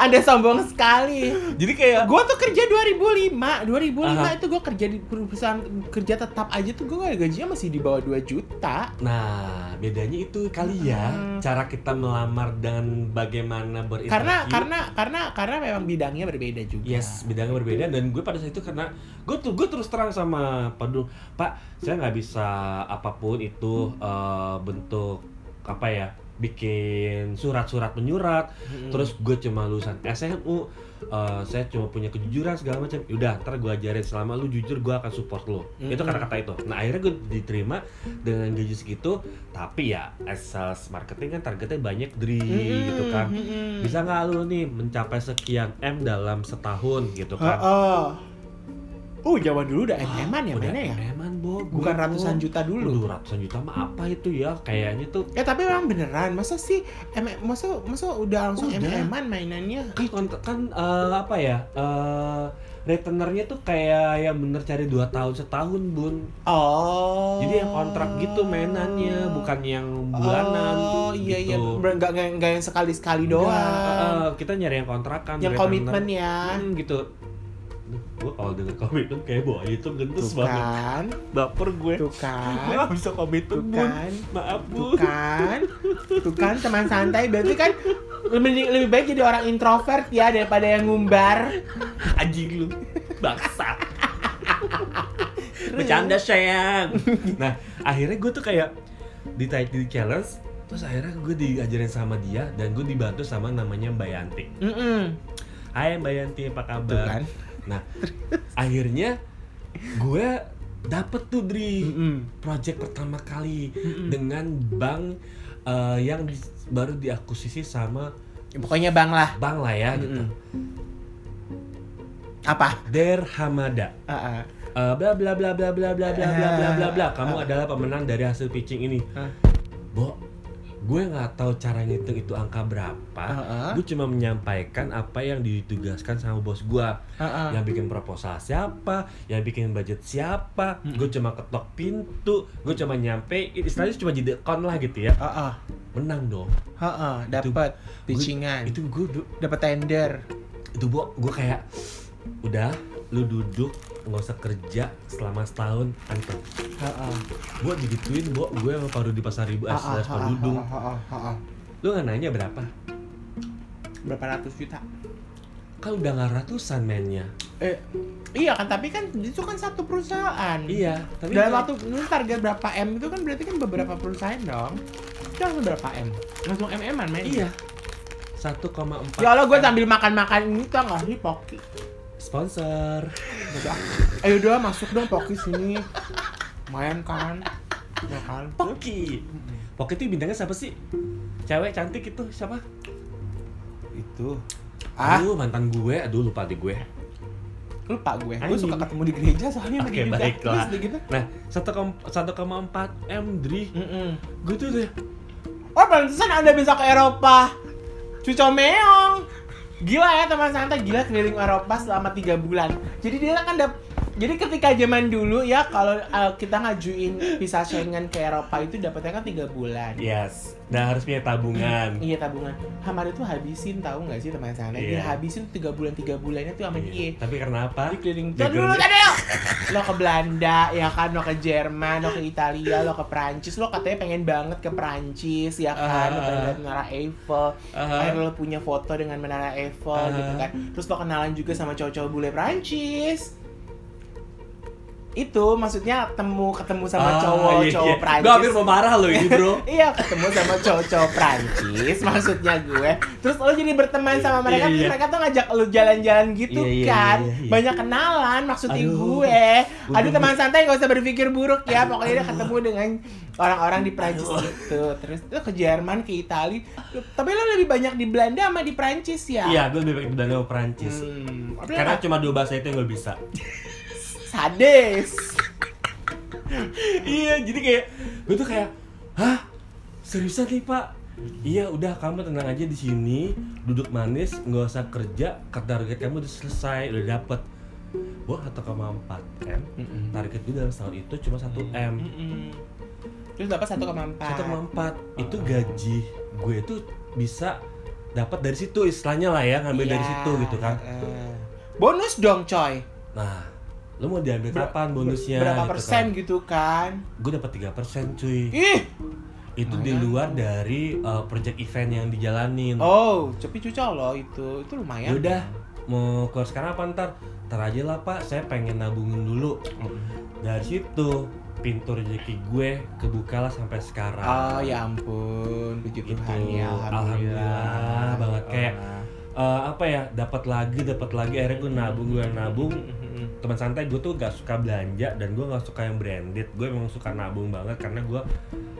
S1: Anda sombong sekali
S2: jadi kayak
S1: Gue tuh kerja 2005 2005
S2: Aha.
S1: itu gue kerja di perusahaan kerja tetap aja tuh gue gajinya masih di bawah 2 juta
S2: nah bedanya itu kali ya
S1: Hmm.
S2: cara kita melamar dan bagaimana berinteraksi
S1: Karena karena karena karena memang bidangnya berbeda juga
S2: iya. Yes, bidangnya berbeda dan gue pada saat itu karena gue tuh gue terus terang sama Pak Dul, Pak, saya nggak bisa apapun itu eh, bentuk apa ya, bikin surat-surat menyurat,
S1: Mm-mm.
S2: terus gue cuma lulusan SMU eh, saya cuma punya kejujuran segala macam udah ntar gue ajarin selama lu jujur gue akan support lu
S1: Mm-mm.
S2: itu kata-kata itu nah akhirnya gue diterima dengan gaji segitu tapi ya as sales marketing kan targetnya banyak dari
S1: Mm-mm,
S2: gitu kan
S1: mm-mm.
S2: bisa nggak lu nih mencapai sekian m dalam setahun gitu
S1: Oh,
S2: kan
S1: oh. Oh, zaman dulu udah
S2: Wah,
S1: MM-an ya
S2: udah Gitu.
S1: mana ya?
S2: MM-an, Bo. Gue,
S1: Bukan
S2: Bo.
S1: ratusan juta dulu.
S2: Aduh, ratusan juta mah apa itu ya kayaknya tuh
S1: Ya tapi memang beneran, masa sih M masa masa Oh, udah langsung
S2: Udah.
S1: MM-an mainannya?
S2: kan kont- kan eh, apa ya eh retainernya tuh kayak yang bener cari dua tahun setahun bun
S1: Oh.
S2: jadi yang kontrak gitu mainannya bukan yang bulanan
S1: Oh, iya iya,
S2: gitu.
S1: Ber- nggak nggak nggak yang sekali-sekali
S2: Enggak,
S1: doang.
S2: eh, kita nyari yang kontrakan
S1: yang
S2: retainer.
S1: komitmen ya.
S2: Hmm, gitu gue kalau dengan komitmen kayak bawa itu gendus
S1: Tuh
S2: banget
S1: kan,
S2: baper gue
S1: tuh
S2: gue
S1: kan,
S2: gak bisa komitmen
S1: tuh
S2: bun
S1: kan,
S2: maaf
S1: tuh
S2: bun
S1: kan, tuh kan teman santai berarti kan lebih lebih baik jadi orang introvert ya daripada yang ngumbar.
S2: anjing lu
S1: (laughs)
S2: baksa bercanda
S1: (laughs)
S2: sayang nah akhirnya gue tuh kayak di di challenge terus akhirnya gue diajarin sama dia dan gue dibantu sama namanya Mbak Yanti
S1: Mm-mm.
S2: Hai Mbak Yanti apa
S1: Tuh
S2: kabar
S1: kan.
S2: nah
S1: (laughs)
S2: akhirnya gue dapet tuh dari
S1: Mm-mm.
S2: project pertama kali
S1: Mm-mm.
S2: dengan bank eh, yang di- baru diakusisi sama
S1: Ya, Pokoknya bang lah
S2: bank lah ya gitu
S1: apa?
S2: Der Hamada
S1: Ah, ah.
S2: Eh, bla bla bla bla bla bla bla bla bla bla bla kamu adalah pemenang dari hasil pitching ini
S1: Hah?
S2: Bo gue nggak tahu cara ngitung itu angka berapa
S1: Ah, ah.
S2: gue cuma menyampaikan apa yang ditugaskan sama bos gue
S1: Ah, ah.
S2: yang bikin proposal siapa yang bikin budget siapa
S1: Mm-mm.
S2: gue cuma ketok pintu gue cuma nyampe istilahnya cuma jadi account lah gitu ya
S1: Ah, ah.
S2: menang dong
S1: Heeh, dapat pitchingan,
S2: itu gue du-
S1: dapat tender.
S2: itu bo gue kayak udah lu duduk nggak usah kerja selama setahun antar
S1: Heeh.
S2: Gue digituin, Bo, gue sama Paru di Pasar eh, Ribu
S1: Heeh,
S2: Aslas
S1: heeh,
S2: Padudung.
S1: heeh, heeh, heeh.
S2: Lu nggak nanya berapa?
S1: Berapa ratus juta?
S2: Kan udah nggak ratusan mainnya.
S1: Eh, iya kan, tapi kan itu kan satu perusahaan.
S2: Iya, tapi
S1: Dalam
S2: nggak-
S1: waktu lu target berapa M itu kan berarti kan beberapa perusahaan dong. Itu langsung berapa M? Langsung MM-an main.
S2: Iya. 1,4
S1: Ya Allah, gue sambil makan-makan ini tuh nggak sih Poki.
S2: sponsor.
S1: Udah. Ayo udah masuk dong Poki sini. Main kan. Ya kan.
S2: Poki. Poki itu bintangnya siapa sih? Cewek cantik itu siapa?
S1: Itu. Ah,
S2: Aduh, mantan gue. Aduh, lupa deh gue.
S1: lupa gue. Gue
S2: Anjing.
S1: suka ketemu di gereja soalnya sama
S2: Oke,
S1: dia juga.
S2: baiklah.
S1: Terus udah gitu.
S2: Nah, 1,4 M, Dri.
S1: Mm-mm.
S2: Gue tuh deh.
S1: Oh, pantesan Anda bisa ke Eropa. Cuco meong. Gila ya teman santai, gila keliling Eropa selama 3 bulan. Jadi dia kan dap- Jadi ketika zaman dulu ya kalau uh, kita ngajuin visa Schengen ke Eropa itu dapatnya kan tiga bulan.
S2: Yes. Dan harus punya tabungan.
S1: Iya tabungan. Hamar itu habisin tahu nggak sih teman sana? Dia
S2: Iya.
S1: habisin tiga bulan tiga bulannya tuh sama
S2: Iya.
S1: dia.
S2: Tapi karena apa?
S1: Dia keliling
S2: Dia
S1: Tuh, dulu
S2: Iya, keliling.
S1: Tadeo! Lo ke Belanda ya kan, lo ke Jerman, lo ke Italia, lo ke Prancis, lo katanya pengen banget ke Prancis ya kan, lo pengen
S2: Ah.
S1: lihat Menara Eiffel,
S2: Aha.
S1: akhirnya lo punya foto dengan Menara Eiffel
S2: Ah.
S1: gitu kan. Terus lo kenalan juga sama cowok-cowok bule Prancis. Itu maksudnya temu ketemu sama
S2: Ah,
S1: cowok-cowok
S2: iya, iya.
S1: Prancis.
S2: Gua hampir mau marah lo
S1: (laughs)
S2: ini bro.
S1: Iya ketemu sama cowok-cowok Prancis maksudnya gue Terus lo jadi berteman sama mereka
S2: Iya,
S1: terus
S2: iya.
S1: Mereka tuh ngajak lo jalan-jalan gitu
S2: Iya, iya,
S1: kan
S2: iya, iya.
S1: Banyak kenalan maksudnya
S2: Aduh.
S1: gue Aduh
S2: Aduh.
S1: teman santai gak usah berpikir buruk ya Pokoknya dia ketemu dengan orang-orang di Prancis gitu Terus lo ke Jerman, ke Itali Lo- Tapi lo lebih banyak di Belanda sama di Prancis ya
S2: Iya, gue lebih baik di Belanda sama Perancis.
S1: Hmm,
S2: Karena cuma dua bahasa itu yang gue bisa.
S1: sadis
S2: (laughs) iya, jadi kayak gue tuh kayak, hah, seriusan nih pak? Iya, udah kamu tenang aja di sini, duduk manis, nggak usah kerja, karena target kamu udah selesai, udah dapet. Gue 1,4 m,
S1: Mm-mm.
S2: target gue dalam setahun itu cuma 1 m.
S1: Mm-mm. Terus dapat 1,4
S2: 1,4 itu gaji gue itu bisa dapat dari situ istilahnya lah ya ngambil dari
S1: Iya,
S2: situ gitu kan
S1: heeh. Bonus dong coy.
S2: nah lu mau diambil
S1: Ber-
S2: kapan bonusnya
S1: Berapa
S2: gitu
S1: persen
S2: kan.
S1: gitu kan?
S2: gue dapat 3 persen cuy
S1: Ih,
S2: itu di
S1: lumayan.
S2: luar dari uh, project event yang dijalanin
S1: oh, ya? cepi cucok loh itu. Itu lumayan.
S2: yaudah mau keluar sekarang apa ntar ntar aja lah pak saya pengen nabungin dulu dari situ pintu rezeki gue kebukalah sampai sekarang
S1: Oh ya ampun, puji
S2: Gitu.
S1: Tuhan ya, alhamdulillah.
S2: Alhamdulillah banget. Kayak- Eh, apa ya dapat lagi dapat lagi akhirnya gue nabung gue nabung teman santai gue tuh gak suka belanja dan gue gak suka yang branded gue memang suka nabung banget karena gue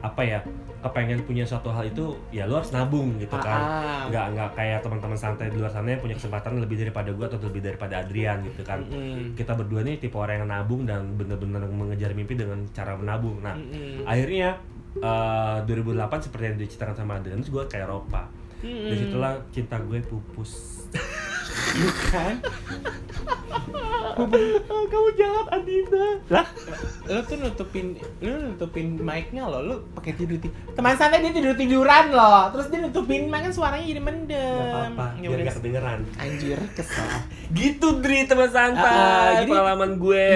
S2: apa ya kepengen punya suatu hal itu ya lu harus nabung gitu kan
S1: Ah,
S2: nggak nggak kayak teman-teman santai di luar sana yang punya kesempatan lebih daripada gue atau lebih daripada Adrian gitu kan
S1: mm-mm,
S2: kita berdua nih tipe orang yang nabung dan bener-bener mengejar mimpi dengan cara menabung nah (laughs)
S1: mm-mm,
S2: akhirnya eh, 2008 seperti yang diceritakan sama Adrian terus gue ke Eropa
S1: mm-mm.
S2: dari situlah cinta gue pupus
S1: kan
S2: kamu jahat Adinda lah
S1: lu tuh nutupin lu nutupin mic-nya loh lu pakai tidur tidur teman santai dia tidur tiduran loh terus dia nutupin mic kan suaranya jadi mendem
S2: nggak apa-apa
S1: Ya
S2: biar
S1: udah,
S2: nggak kedengeran
S1: anjir kesel
S2: gitu Dri teman santai
S1: Ah, ah, jadi-
S2: pengalaman gue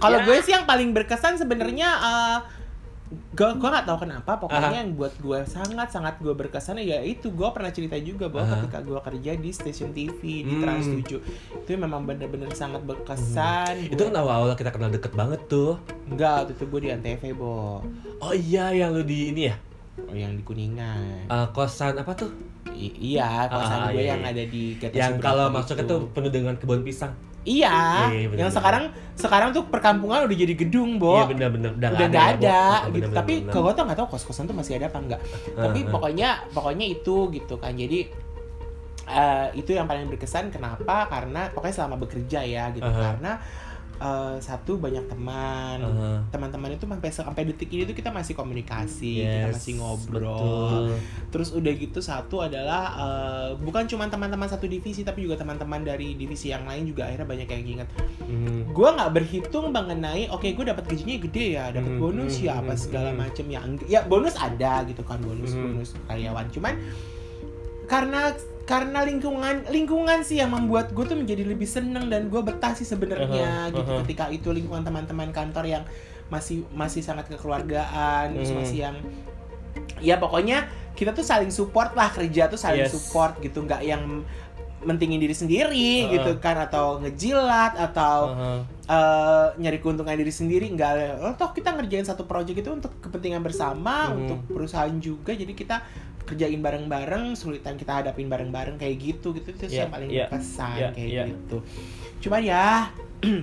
S1: Kalau
S2: Ya. Hmm.
S1: gue sih yang paling berkesan sebenarnya eh, gue gue nggak tahu kenapa pokoknya
S2: Aha.
S1: yang buat gue sangat sangat gue berkesan ya itu gue pernah cerita juga bahwa
S2: Aha.
S1: ketika gue kerja di stasiun TV di
S2: Hmm.
S1: Trans 7 itu memang bener-bener sangat berkesan.
S2: itu kan awal-awal kita kenal deket banget tuh
S1: enggak waktu itu gue di Antv bo,
S2: oh iya yang lu di ini ya
S1: Oh, yang di Kuningan.
S2: eh, kosan apa tuh
S1: I- iya, kosan
S2: Ah,
S1: gue
S2: iya,
S1: yang
S2: iya.
S1: ada di Gatot
S2: yang
S1: Subroto
S2: kalau masuk
S1: itu.
S2: itu penuh dengan kebun pisang
S1: Iya,
S2: Iya, bener-bener.
S1: yang sekarang sekarang tuh perkampungan udah jadi gedung, Bo.
S2: iya benar-benar udah
S1: udah nggak
S2: nggak
S1: ada,
S2: Bo. Oh,
S1: gitu.
S2: bener-bener,
S1: Tapi
S2: bener-bener.
S1: kalau gue tau nggak tau kos-kosan tuh masih ada apa
S2: (laughs)
S1: enggak. Tapi
S2: Heeh.
S1: pokoknya pokoknya itu gitu kan. Jadi eh, itu yang paling berkesan. Kenapa? Karena pokoknya selama bekerja ya gitu.
S2: Aha.
S1: Karena eh, satu banyak teman.
S2: Heeh.
S1: Teman-teman itu sampai sampai detik ini tuh kita masih komunikasi, kita
S2: Yes,
S1: masih ngobrol.
S2: betul.
S1: Terus udah gitu satu adalah eh, bukan cuma teman-teman satu divisi tapi juga teman-teman dari divisi yang lain juga akhirnya banyak yang ingat
S2: Hmm.
S1: gue nggak berhitung mengenai oke gue dapat gajinya gede ya dapat
S2: Hmm,
S1: bonus
S2: hmm,
S1: ya apa
S2: hmm,
S1: segala
S2: hmm.
S1: macem ya Engg- ya bonus ada gitu kan bonus
S2: Hmm.
S1: bonus karyawan cuman karena karena lingkungan lingkungan sih yang membuat gue tuh menjadi lebih seneng dan gue betah sih sebenarnya
S2: Aha,
S1: gitu
S2: aha.
S1: ketika itu lingkungan teman-teman kantor yang masih masih sangat kekeluargaan terus
S2: Hmm.
S1: masih yang ya pokoknya kita tuh saling support lah kerja tuh saling
S2: Yes.
S1: support gitu nggak yang mentingin diri sendiri
S2: Heeh.
S1: gitu kan atau ngejilat atau
S2: Heeh.
S1: eh nyari keuntungan diri sendiri enggak oh, toh kita ngerjain satu project itu untuk kepentingan bersama
S2: Hmm.
S1: untuk perusahaan juga jadi kita kerjain bareng-bareng sulitan kita hadapin bareng-bareng kayak gitu gitu itu sih
S2: Iya,
S1: yang paling
S2: iya,
S1: berkesan
S2: iya,
S1: kayak
S2: iya.
S1: gitu cuman ya (clears throat)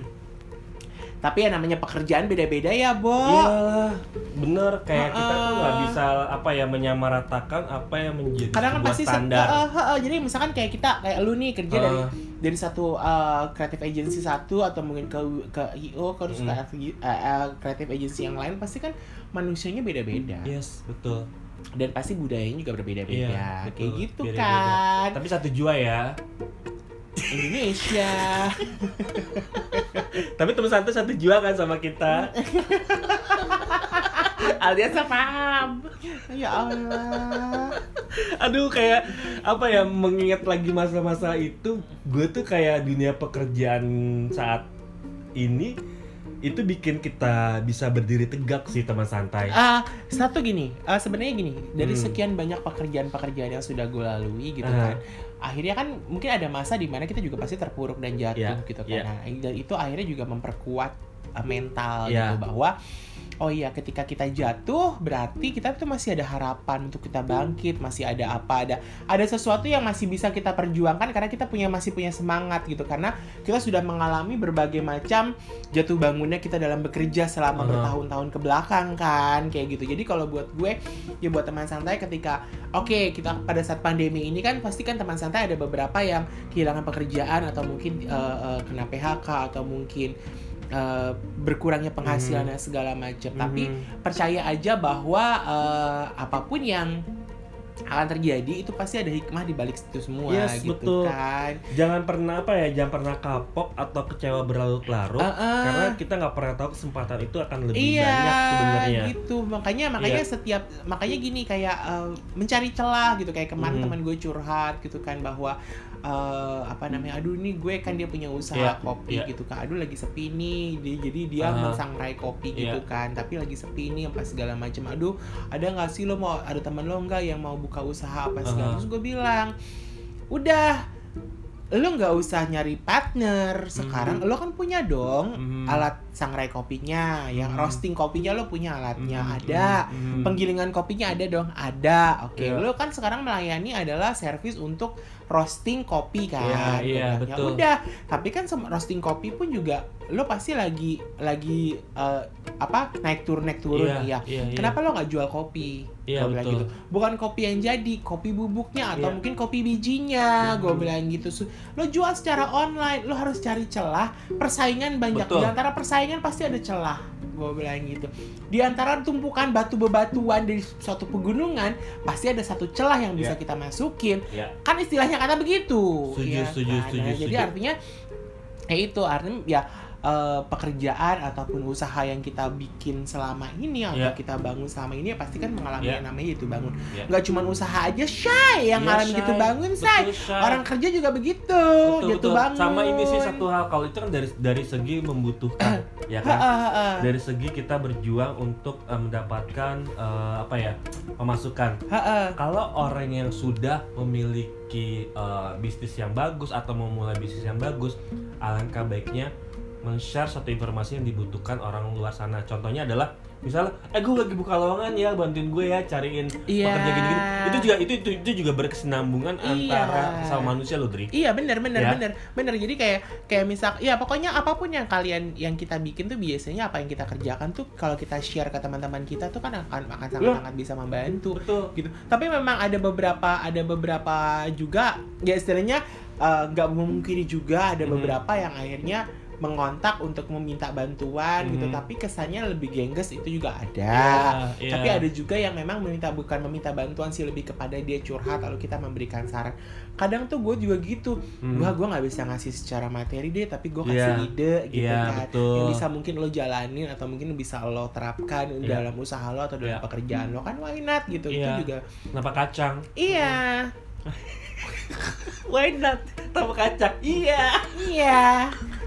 S1: tapi ya namanya pekerjaan beda-beda ya bo Ah,
S2: Iyalah, bener kayak kita tuh nggak
S1: Heeh.
S2: bisa apa ya menyamaratakan apa yang menjadi
S1: kadang kan
S2: sebuah
S1: pasti se-
S2: standar. Eh,
S1: eh, eh, eh, jadi misalkan kayak kita kayak lu nih kerja dari
S2: Heeh.
S1: dari satu uh, creative agency satu atau mungkin ke ke IO ke terus ke
S2: Mm.
S1: FG uh, uh, creative agency yang lain pasti kan manusianya beda-beda
S2: Yes, betul.
S1: dan pasti budayanya juga berbeda-beda
S2: Iya,
S1: kayak
S2: betul.
S1: gitu
S2: Beda-beda.
S1: kan
S2: Tapi satu jua ya. (laughs)
S1: Indonesia
S2: Tapi teman santai satu jiwa kan sama kita. Alias paham.
S1: ya Allah
S2: Aduh kayak apa ya mengingat lagi masa-masa itu, gue tuh kayak dunia pekerjaan saat ini itu bikin kita bisa berdiri tegak sih teman santai.
S1: Ah, satu gini, ah, sebenarnya gini, dari
S2: Hmm.
S1: sekian banyak pekerjaan-pekerjaan yang sudah gue lalui gitu
S2: Ah.
S1: kan, akhirnya kan mungkin ada masa di mana kita juga pasti terpuruk dan jatuh
S2: Ya,
S1: gitu kan,
S2: ya.
S1: Nah, dan itu akhirnya juga memperkuat ah, mental
S2: Ya.
S1: gitu bahwa oh iya ketika kita jatuh berarti kita tuh masih ada harapan untuk kita bangkit, masih ada apa ada ada sesuatu yang masih bisa kita perjuangkan karena kita punya masih punya semangat gitu karena kita sudah mengalami berbagai macam jatuh bangunnya kita dalam bekerja selama
S2: Hmm.
S1: bertahun-tahun ke belakang kan kayak gitu. Jadi kalau buat gue ya buat teman santai ketika oke kita pada saat pandemi ini kan pasti kan teman santai ada beberapa yang kehilangan pekerjaan atau mungkin eh, eh, kena PHK atau mungkin eh, berkurangnya penghasilan
S2: Hmm.
S1: dan segala macam. ya, Tapi
S2: Mhm.
S1: percaya aja bahwa eh, apapun yang akan terjadi itu pasti ada hikmah di balik itu semua
S2: Yes,
S1: gitu
S2: betul.
S1: kan.
S2: jangan pernah apa ya, jangan pernah kapok atau kecewa berlarut-larut.
S1: Heeh.
S2: Karena kita nggak pernah tahu kesempatan itu akan lebih
S1: Ah, iya,
S2: banyak sebenarnya. Iya.
S1: gitu. Makanya makanya setiap makanya gini kayak eh, mencari celah gitu kayak kemarin
S2: Mhm.
S1: teman gue curhat gitu kan bahwa eh, apa namanya aduh nih gue kan dia punya usaha
S2: Iya,
S1: kopi
S2: iya.
S1: gitu kan aduh lagi sepi nih dia, jadi dia
S2: Aha.
S1: mensangrai kopi
S2: Iya.
S1: gitu kan tapi lagi sepi nih apa segala macam aduh ada nggak sih lo mau ada teman lo nggak yang mau buka usaha apa segala
S2: Aha.
S1: terus gue bilang udah lo nggak usah nyari partner sekarang
S2: Mm-hmm.
S1: lo kan punya dong
S2: Mhm.
S1: alat sangrai kopinya, yang
S2: Hmm.
S1: roasting kopinya lo punya alatnya
S2: Mhm,
S1: ada,
S2: mhm, mhm.
S1: penggilingan kopinya ada dong, ada. Oke,
S2: Iya.
S1: lo kan sekarang melayani adalah servis untuk roasting kopi kan. Gua
S2: Iya, iya,
S1: bilang, "Ya
S2: betul.
S1: Udah, tapi kan sem- roasting kopi pun juga lo pasti lagi lagi eh, apa naik turun naik turun
S2: Iya,
S1: ya.
S2: iya, iya.
S1: Kenapa lo nggak jual kopi?
S2: Iya,
S1: Gua bilang
S2: betul.
S1: gitu. Bukan kopi yang jadi, kopi bubuknya atau
S2: Iya.
S1: mungkin kopi bijinya. Gue
S2: Mhm.
S1: bilang gitu. Su- Lo jual secara online, lo harus cari celah. Persaingan banyak.
S2: Betul.
S1: Di antara persaingan pasti ada celah. Gue bilang gitu. Di antara tumpukan batu bebatuan dari suatu pegunungan, pasti ada satu celah yang bisa kita masukin.
S2: Iya.
S1: Kan istilahnya kata begitu.
S2: Setuju,
S1: ya
S2: setuju,
S1: kan?
S2: setuju,
S1: Nah, Jadi
S2: setuju.
S1: artinya ya itu artinya ya eh, pekerjaan ataupun usaha yang kita bikin selama ini atau
S2: Ya.
S1: kita bangun selama ini ya pasti kan mengalami
S2: Ya.
S1: yang namanya itu bangun
S2: Ya.
S1: nggak cuma usaha aja Shay yang
S2: Iya,
S1: ngalamin
S2: Shay.
S1: gitu bangun Shay
S2: Betul, Shay.
S1: orang kerja juga begitu
S2: Betul,
S1: gitu
S2: betul.
S1: bangun
S2: Sama ini sih satu hal kalau itu kan dari dari segi membutuhkan,
S1: Ha,
S2: ya kan?
S1: ha, ha, ha.
S2: Dari segi kita berjuang untuk eh, mendapatkan eh, apa ya pemasukan.
S1: Ha, ha.
S2: Kalau orang yang sudah memiliki eh, bisnis yang bagus atau mau mulai bisnis yang bagus, alangkah baiknya men-share satu informasi yang dibutuhkan orang luar sana. Contohnya adalah misalnya, eh gue lagi buka lowongan ya, bantuin gue ya cariin
S1: Iya.
S2: pekerja gini-gini. Itu juga itu itu, itu juga berkesinambungan
S1: Iya.
S2: antara sama manusia loh, Dri.
S1: Iya benar benar
S2: Ya.
S1: benar benar jadi kayak kayak misal ya pokoknya apapun yang kalian yang kita bikin tuh biasanya apa yang kita kerjakan tuh kalau kita share ke teman-teman kita tuh kan akan akan sangat sangat
S2: Ya.
S1: bisa membantu
S2: Betul.
S1: gitu tapi memang ada beberapa ada beberapa juga ya istilahnya eh, nggak memungkiri juga ada
S2: Mhm.
S1: beberapa yang akhirnya mengontak untuk meminta bantuan gitu
S2: Mhm.
S1: tapi kesannya lebih gengges itu juga ada
S2: Iya,
S1: Ya, tapi
S2: iya.
S1: ada juga yang memang meminta bukan meminta bantuan sih lebih kepada dia curhat lalu kita memberikan saran kadang tuh gue juga gitu
S2: Hmm.
S1: gua gue nggak bisa ngasih secara materi deh tapi gue kasih
S2: Iya.
S1: ide gitu
S2: Iya,
S1: kan
S2: betul.
S1: yang bisa mungkin lo jalanin atau mungkin bisa lo terapkan
S2: Iya.
S1: dalam usaha lo atau dalam
S2: Iya.
S1: pekerjaan lo kan why not gitu
S2: Iya.
S1: itu juga
S2: Kenapa kacang?
S1: iya
S2: (laughs) Why not? Kenapa kacang? Iya.
S1: iya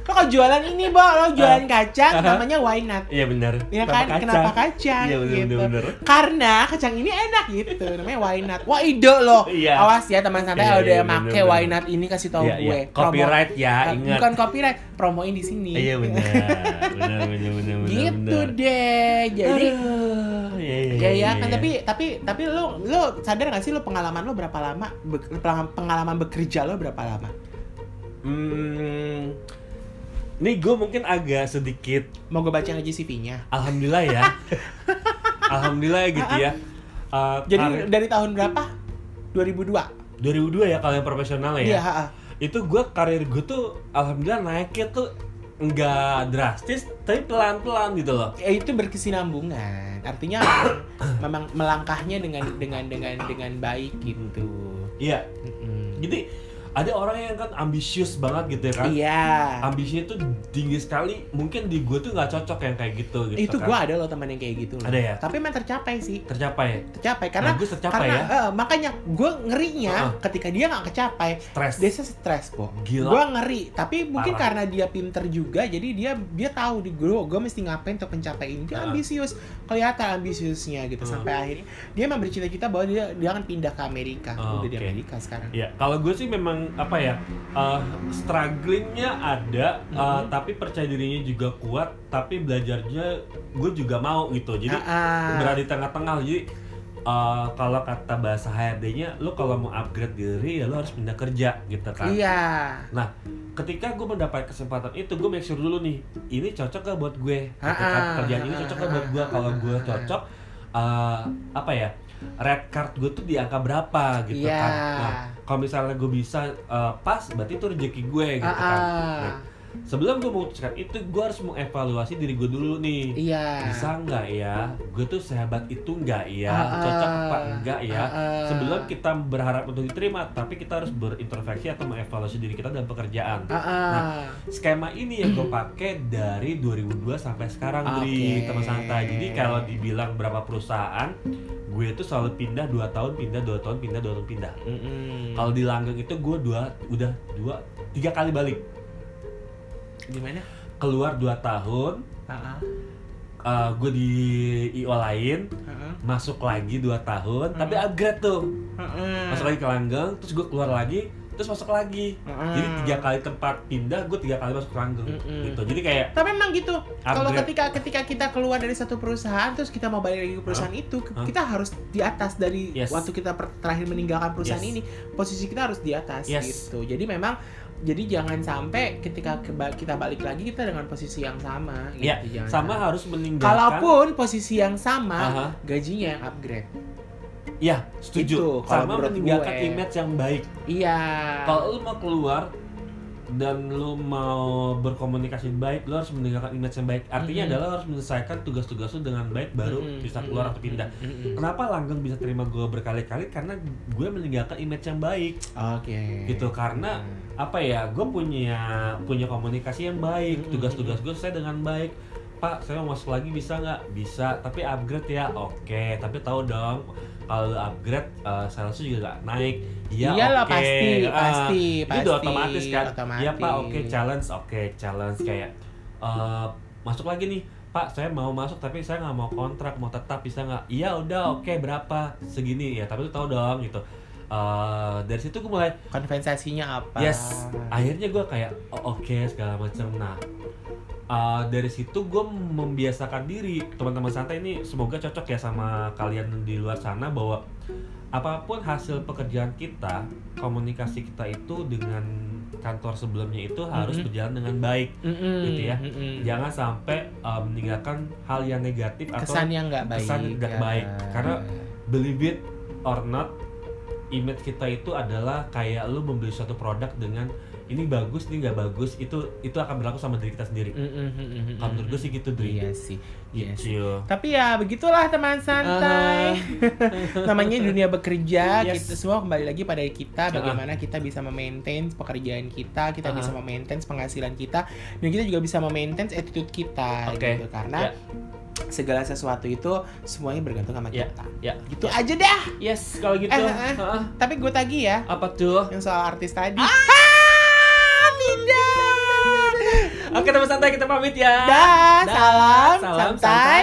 S1: lo kok jualan ini bo lo jualan kacang
S2: Ah. Aha.
S1: namanya why not
S2: Iya benar.
S1: ya kan kenapa kacang
S2: Iya benar
S1: gitu
S2: benar, benar.
S1: karena kacang ini enak gitu namanya why not wah ide lo
S2: Iya.
S1: awas ya teman santai
S2: Iya,
S1: kalau udah
S2: iya,
S1: make
S2: bener-bener.
S1: why not ini kasih tahu
S2: Iya, iya.
S1: gue
S2: Copyright ya,
S1: Promo- Nah,
S2: ingat.
S1: bukan copyright promoin di sini
S2: Iya
S1: (laughs)
S2: benar. Benar benar benar benar.
S1: gitu
S2: benar.
S1: deh jadi
S2: Aduh, Iya iya.
S1: ya
S2: iya,
S1: ya kan
S2: iya.
S1: tapi tapi tapi lo lo sadar gak sih lo pengalaman lo berapa lama Be- pengalaman bekerja lo berapa lama
S2: Hmm, Nih gue mungkin agak sedikit
S1: mau gue baca aja CV-nya
S2: Alhamdulillah
S1: (laughs)
S2: ya Alhamdulillah gitu ya Eh,
S1: Ah, jadi
S2: karir-
S1: dari tahun berapa 2002
S2: 2002 ya kalau yang profesional ya
S1: iya ha-ha.
S2: itu gue karir gue tuh alhamdulillah naiknya tuh nggak drastis tapi pelan-pelan gitu loh
S1: Ya, itu berkesinambungan
S2: (coughs)
S1: artinya memang melangkahnya dengan dengan dengan dengan baik gitu
S2: iya
S1: Mm-mm.
S2: jadi ada orang yang kan ambisius banget gitu ya kan
S1: Iya.
S2: ambisinya tuh tinggi sekali mungkin di gue tuh nggak cocok yang kayak gitu gitu
S1: Itu
S2: kan.
S1: gua ada loh teman yang kayak gitu. loh.
S2: Ada ya?
S1: Tapi emang tercapai sih.
S2: tercapai
S1: Tercapai karena
S2: bagus tercapai
S1: karena
S2: ya
S1: eh, makanya gua ngerinya
S2: Heeh.
S1: ketika dia nggak kecapai,
S2: stres
S1: dia stres, Po.
S2: Gila.
S1: Gua ngeri, tapi mungkin karena
S2: Parah.
S1: dia pinter juga, jadi dia dia tahu di gua gua mesti ngapain untuk mencapai ini. Dia
S2: Ah.
S1: ambisius, kelihatan ambisiusnya gitu
S2: Hmm.
S1: sampai akhirnya dia memang bercita-cita bahwa dia dia akan pindah ke Amerika.
S2: Oh,
S1: Udah di
S2: oke.
S1: Amerika sekarang.
S2: Ya, kalau gue sih memang apa ya, uh, strugglingnya ada, uh,
S1: Mhm.
S2: tapi percaya dirinya juga kuat, tapi belajarnya gue juga mau gitu. Jadi
S1: Ah, ah.
S2: berada di tengah-tengah. Jadi uh, kalau kata bahasa HRD-nya, lo kalau mau upgrade diri ya lo harus pindah kerja gitu kan.
S1: Iya.
S2: Ketika gue mendapat kesempatan itu, gue make sure dulu nih, ini cocok gak buat gue? Gitu
S1: Ah,
S2: kan.
S1: ah,
S2: Kerjaan ini
S1: ah,
S2: cocok
S1: ah,
S2: gak buat gue?
S1: ah,
S2: Kalau
S1: ah,
S2: gue
S1: ah, ah.
S2: cocok, uh, apa ya? Red card gue tuh di angka berapa gitu
S1: Iya.
S2: kan? Nah, kalau misalnya gue bisa eh, pas berarti itu rezeki gue gitu
S1: Ah,
S2: kan
S1: ah.
S2: Nah, sebelum gue memutuskan itu gue harus mengevaluasi diri gue dulu nih
S1: Iya.
S2: bisa nggak ya gue tuh sehebat itu nggak ya
S1: Ah, ah.
S2: cocok apa enggak ya
S1: Ah, ah.
S2: sebelum kita berharap untuk diterima tapi kita harus berintrospeksi atau mengevaluasi diri kita dalam pekerjaan
S1: Ah, ah.
S2: Nah. skema ini yang gue pakai dari 2002 sampai sekarang
S1: Oke.
S2: Dri teman santai jadi kalau dibilang berapa perusahaan gue tuh selalu pindah 2 tahun pindah 2 tahun pindah 2 tahun pindah
S1: Mm-mm.
S2: kalau di langgeng itu gue dua udah dua tiga kali balik
S1: gimana?
S2: keluar dua tahun,
S1: Ah, ah.
S2: eh, gue di IO lain,
S1: Ah, ah.
S2: masuk lagi dua tahun,
S1: Hmm.
S2: tapi upgrade tuh,
S1: Ah, ah.
S2: masuk lagi ke langgeng, terus gue keluar lagi, terus masuk lagi,
S1: Ah, ah.
S2: jadi tiga kali tempat pindah, gue tiga kali masuk ke langgeng,
S1: Mm-mm.
S2: gitu, jadi kayak
S1: Tapi memang gitu. Hmm. Kalau
S2: Upgrade.
S1: ketika ketika kita keluar dari satu perusahaan terus kita mau balik lagi ke perusahaan itu, ke-
S2: Hah?
S1: kita harus di atas dari
S2: Yes.
S1: waktu kita per- terakhir meninggalkan perusahaan
S2: Yes.
S1: ini, posisi kita harus di atas
S2: Yes.
S1: gitu. Jadi memang jadi jangan sampai ketika keba- kita balik lagi kita dengan posisi yang sama gitu.
S2: Iya,
S1: Jangan
S2: sama harus meninggalkan,
S1: Kalaupun posisi yang sama,
S2: Aha.
S1: gajinya yang upgrade.
S2: ya
S1: Itu,
S2: setuju,
S1: kalau
S2: sama
S1: menurut
S2: meninggalkan
S1: gue.
S2: image yang baik.
S1: Iya.
S2: Kalau lu mau keluar dan lu mau berkomunikasi baik, lu harus meninggalkan image yang baik. Artinya
S1: Mhm.
S2: adalah lu harus menyelesaikan tugas-tugas lu dengan baik baru
S1: Mm-mm,
S2: bisa
S1: mm-mm,
S2: keluar atau pindah.
S1: mm-mm.
S2: Kenapa langgeng bisa terima gue berkali-kali? Karena gue meninggalkan image yang baik,
S1: Oke.
S2: gitu. Karena apa ya? Gue punya punya komunikasi yang baik,
S1: Mm-mm,
S2: tugas-tugas gue saya dengan baik. Pak, saya mau masuk lagi bisa nggak? Bisa, tapi upgrade ya. Oke, tapi tahu dong kalau lu upgrade eh, salesnya juga nggak naik. Iya,
S1: Iyalah
S2: oke.
S1: pasti,
S2: Ah,
S1: pasti,
S2: itu
S1: pasti.
S2: udah otomatis kan
S1: Otomatis.
S2: ya pak oke challenge oke challenge kayak eh, masuk lagi nih pak saya mau masuk tapi saya nggak mau kontrak mau tetap bisa nggak iya udah oke berapa segini ya tapi lu tahu dong gitu Eh, dari situ gue mulai
S1: Konversasinya apa?
S2: yes akhirnya gue kayak "Oh, oke segala macam nah eh, dari situ gue membiasakan diri teman-teman santai ini semoga cocok ya sama kalian di luar sana bahwa apapun hasil pekerjaan kita komunikasi kita itu dengan kantor sebelumnya itu harus
S1: Mhm.
S2: berjalan dengan baik
S1: Mm-mm,
S2: Gitu ya.
S1: mm-mm.
S2: jangan sampai eh, meninggalkan hal yang negatif
S1: kesan
S2: atau
S1: yang nggak baik. kan?
S2: kesan yang tidak baik. Karena- believe it or not image kita itu adalah kayak lu membeli suatu produk dengan ini bagus ini nggak bagus itu itu akan berlaku sama diri kita sendiri kalau menurut gue sih gitu
S1: Mm-hmm.
S2: Dri
S1: Iya sih. Iya sih.
S2: Gitu.
S1: Tapi ya begitulah teman santai. (laughs) Namanya dunia bekerja,
S2: Uh-huh. Yes.
S1: kita semua kembali lagi pada kita
S2: Ah.
S1: bagaimana kita bisa memaintain pekerjaan kita, kita
S2: Ah.
S1: bisa memaintain penghasilan kita, dan kita juga bisa memaintain attitude kita
S2: Oke. Ya.
S1: gitu. Karena segala sesuatu itu semuanya bergantung sama
S2: Ya.
S1: kita.
S2: ya
S1: Gitu aja dah.
S2: yes kalau gitu
S1: Eh, eh, eh.
S2: Heeh.
S1: Tapi gue tagih ya
S2: apa tuh
S1: yang soal artis tadi.
S2: ah pindah oke teman santai kita pamit ya
S1: Dah, salam,
S2: Salam
S1: santai.